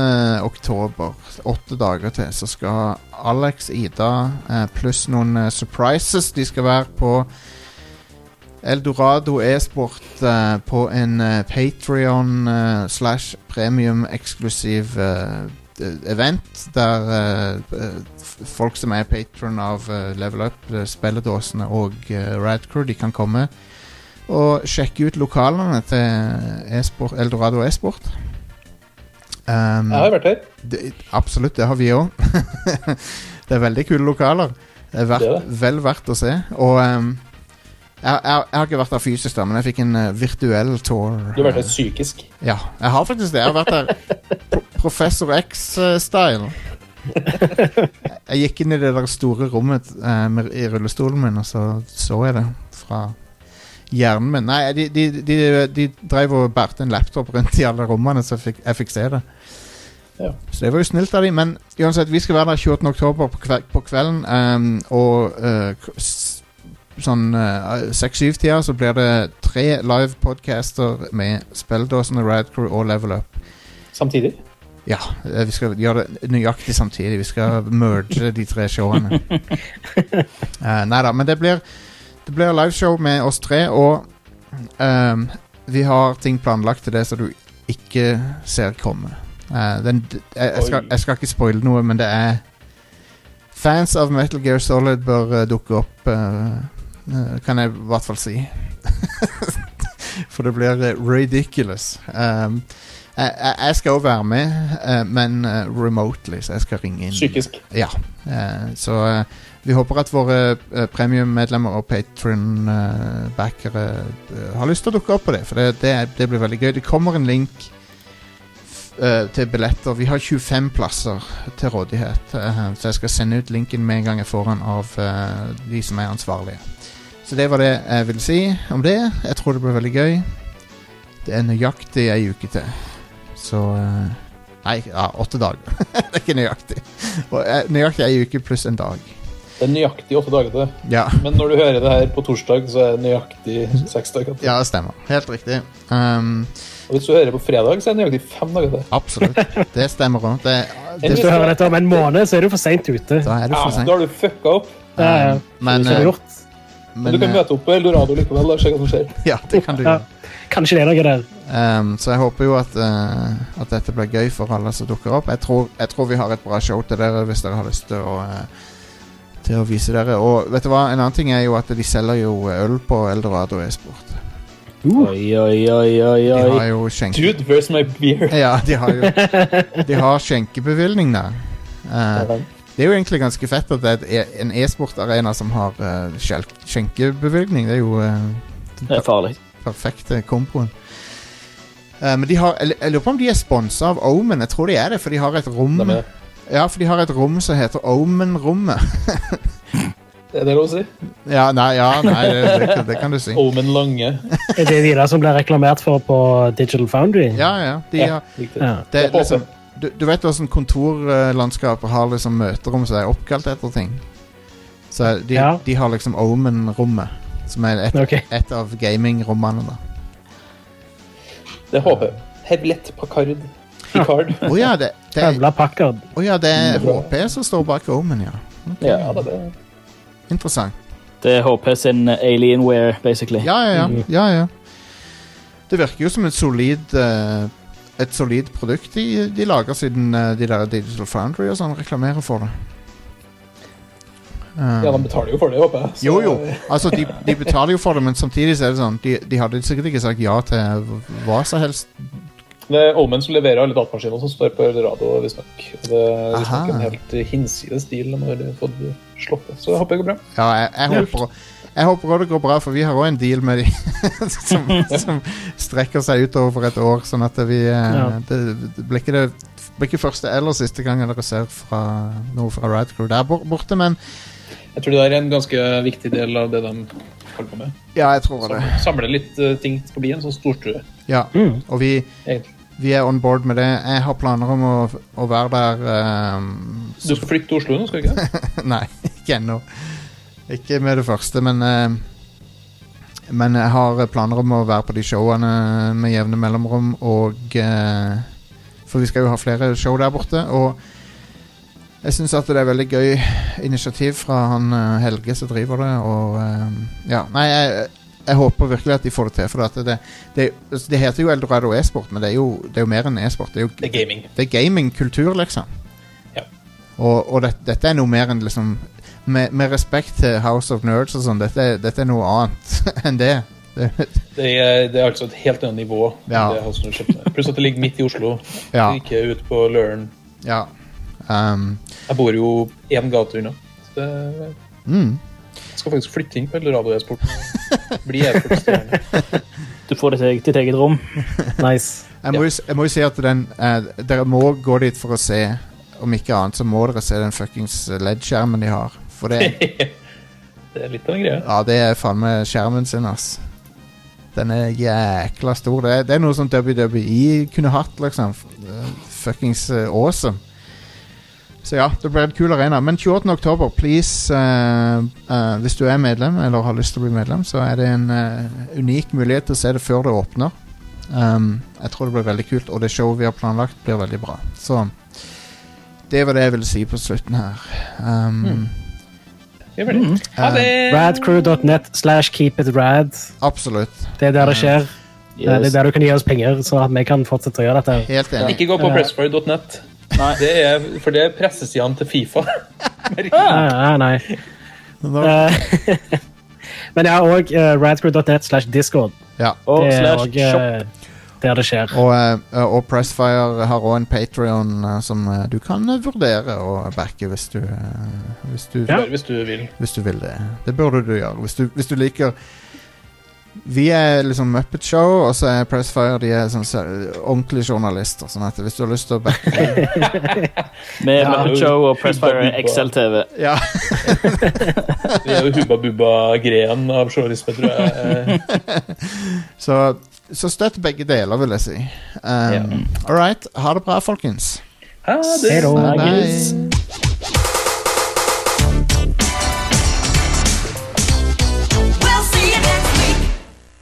oktober, åtte dager til, så skal Alex, Ida eh, pluss noen eh, surprises De skal være på Eldorado e-sport eh, på en eh, Patreon eh, slash premium eksklusiv eh, d- event der eh, eh, f- folk som er patron av eh, Level Up, eh, spilledåsene og eh, Radcrew, de kan komme og sjekke ut lokalene til e-sport, Eldorado e-sport. Um,
Jeg har vært her.
det, absolutt, det har vi òg. det er veldig kule lokaler. Det er, verdt,
Det er det.
vel verdt å se. Og ehm, Jeg, jeg, jeg har ikke vært der fysisk, da, men jeg fikk en eh, virtuell tour.
Du har vært der psykisk.
Ja, jeg har faktisk det. Jeg har vært der pro- Professor X-style. Jeg gikk inn i det der store rommet eh, med, i rullestolen min, og så så jeg det fra hjernen min. Nei, de, de, de, de drev og bærte en laptop rundt i alle rommene, så jeg fikk, jeg fikk se det.
Ja.
Så det var jo snilt av dem. Men uansett, vi skal være der 28. oktober på, kve, på kvelden, ehm, og eh, k- s- sånn eh, 6-7-tida så blir det tre live podcaster med Spelldåsen og Radcrew og Level Up.
Samtidig.
Ja, eh, vi skal gjøre det nøyaktig samtidig. Vi skal merge de tre showene. uh, nei da, men det blir, det blir liveshow med oss tre, og ehm, vi har ting planlagt til det som du ikke ser komme. Eh, den, d- jeg, jeg, skal,
Oi.
jeg skal ikke spoile noe, men det er Fans av Metal Gear Solid bør eh, dukke opp, eh, eh, kan jeg i hvert fall si. For det blir eh, ridiculous. Um, jeg, jeg- jeg skal jo være med, eh, men eh, remotely, så jeg skal ringe inn.
Psykisk.
Ja. eh, så eh, vi håper at våre eh, premiummedlemmer og patron-backere har lyst til å dukke opp på det, for det, det, det blir veldig gøy. Det kommer en link eh, til billetter. Vi har 25 plasser til rådighet, eh, så jeg skal sende ut linken med en gang jeg får den av eh, de som er ansvarlige. Så det var det jeg ville si om det. Jeg tror det blir veldig gøy. Det er nøyaktig ei uke til. Så eh, Nei, ja, åtte dager. det er ikke nøyaktig. Og, eh, nøyaktig ei uke pluss en dag.
Det er nøyaktig åtte dager til det.
Ja.
Men når du hører det her på torsdag, så er det nøyaktig seks dager til.
Ja, det stemmer. Helt riktig. Um,
Og hvis du hører på fredag, så er det nøyaktig fem dager til.
absolutt. Det stemmer òg. Det,
Hvis
det,
du hører dette om en måned, så er du for seint ute.
da er det
Ja,
for
da
sent.
har du fucka opp.
Ja, ja.
Men,
Så er det
eh,
gjort.
Men,
men
du kan
eh,
møte opp på Eldorado likevel og se hva som skjer.
Ja, det kan du
Ja.
gjøre.
Kanskje det er noe der.
Um, så jeg håper jo at, eh, at dette blir gøy for alle som dukker opp. Jeg tror, jeg tror vi har et bra show til dere hvis dere har lyst til å eh, Til å vise dere. Og vet du hva, en annen ting er jo at de selger jo øl på Eldorado e-sport.
Oi, oi, oi, oi,
De
oi.
har jo skjenke...
Dude, where's my beer?
Ja, de har jo De har skjenkebevilgning der. Eh, det er jo egentlig ganske fett at det er et e- en e-sportarena som har eh, skjel- skjenkebevilgning. Det er jo eh, den
Det er farlig.
perfekte komboen. Eh, men de har Jeg jeg lurer på om de er sponsa av Omen. Jeg tror de er det, for de har et rom
De er-
Ja, for de har et rom som heter Omen-rommet.
Er det lov å si?
ja, nei, ja, nei det, det, kan- det kan du si.
Omen Lange.
Er det de der som blir reklamert for på Digital Foundry?
Ja, ja. De
Ja,
har,
riktig.
Ja.
det,
Jeg
er
håper.
liksom, du, du vet hvordan kontorlandskapet har liksom møterom som er oppkalt etter ting? Så de,
Ja.
de har liksom Omen-rommet, som er et,
Ok.
et av gaming-rommene. da.
Det håper jeg. Hevlett Pacard. Picard.
Å ja, det, det,
Høvla Packard.
å ja, det er HP som står bak Omen, ja.
Ja, da, det
Interessant.
Det er HP sin Alienware, basically.
Ja, ja, ja.
Mm.
ja, ja. Det virker jo som et solid eh, Et solid produkt de, de lager, siden eh, de der Digital Foundry og sånn reklamerer for det.
ja, de
Um,
betaler jo for det, håper jeg. Så-
jo, jo. Altså, de, de betaler jo for det, men samtidig så er det sånn De, de hadde sikkert ikke sagt ja til hva som helst.
Det er Omen som leverer alle datamaskinene som står på Eldorado, visstnok. Og Det er visstnok en
Aha.
helt hinsides deal de har fått sluppet. Så jeg håper det går bra.
Ja, jeg, jeg håper jeg håper også det går bra, for vi har òg en deal med de som, som strekker seg utover et år. Sånn at vi eh,
Ja.
det, det blir ikke det blir ikke første eller siste gang dere ser fra, noe fra Radcrew der bor- borte, men
Jeg tror det der er en ganske viktig del av det de holder på med.
Ja, jeg tror det.
Samle, samle litt eh, ting til å bli en sånn storstue,
Ja. Og vi,
egentlig.
vi er on board med det. Jeg har planer om å, å være der ehm,
Du skal flytte til Oslo nå, skal du ikke det?
Nei, ikke ennå. Ikke med det første, men eh, Men jeg har planer om å være på de showene med jevne mellomrom, og eh, For vi skal jo ha flere show der borte, og jeg syns at det er veldig gøy initiativ fra han eh, Helge som driver det, og eh, Ja, nei, jeg, jeg håper virkelig at de får det til, for at det, det, altså, det heter jo Eldorado e-sport, men det er jo, det er jo mer enn e-sport. Det er jo
Det er gaming.
det er gamingkultur, liksom.
Ja.
Og, og det, dette er noe mer enn liksom med, med respekt til House of Nerds og sånn, dette, er- dette er noe annet enn det. det
Det er, det er altså et helt annet nivå. enn
Ja.
det Halsen har kjøpt med. Pluss at det ligger midt i Oslo,
ja.
ikke ute på Løren.
ja. Um,
Jeg bor jo én gate unna. Så det,
mm.
jeg skal faktisk flytte inn på Eldorado e-sport. Bli Airfort-stjerne.
Du får ditt eget, ditt eget rom.
Nice.
Jeg må, jo, s- jeg må jo si at den eh, Dere må gå dit for å se Om ikke annet så må dere se den fuckings eh, LED-skjermen de har For det,
Det er litt av en greie.
ja, det er faen med skjermen sin ass Den er jækla stor Det er, det er noe som WWE kunne hatt liksom Eh, Fuckings eh, awesome Så ja, det blir en kul arena Men 28. oktober, please eh, eh, Hvis du er medlem Eller har lyst til å bli medlem Så er det en eh, unik mulighet til å se det før det åpner Um, jeg tror det blir veldig kult, og det showet vi har planlagt, blir veldig bra. Så det var det jeg ville si på slutten her. Um,
Vi er ferdig. Ha
eh,
det!
Radcrew.net slash keep it rad.
absolutt.
Det er der det skjer. Eh, Det er
Yes.
der du kan gi oss penger, så at vi kan fortsette å gjøre dette. her.
Helt enig.
Ikke gå på pressfire.net. Det er, for det er pressesidene til Fifa.
Nei, Ah, nei, nei.
Nå-
Eh, Men eh, jeg har òg radcrew.net slash discord.
Ja.
Og
Det er
slash
òg
shop.
der det skjer.
Og, eh, og Pressfire har òg en Patrion som eh, du kan eh, vurdere å backe hvis du, eh, hvis du
Ja.
Hvis du vil.
Hvis du vil det. Det burde du gjøre. Hvis du, hvis du liker Vi er liksom Muppet Show, og så er Pressfire de er sånn ser- ordentlige journalister. Sånn at hvis du har lyst til å backe
Med
Ja.
Muppet Show og Pressfire XL-TV.
Ja,
Vi er jo Hubba Bubba-grenen av journalisme, tror jeg. Eh,
så, så støtt begge deler, vil jeg si. Um, All right. Ha det bra, folkens.
Ha det!
Hei da.
Bye.
Snakkes.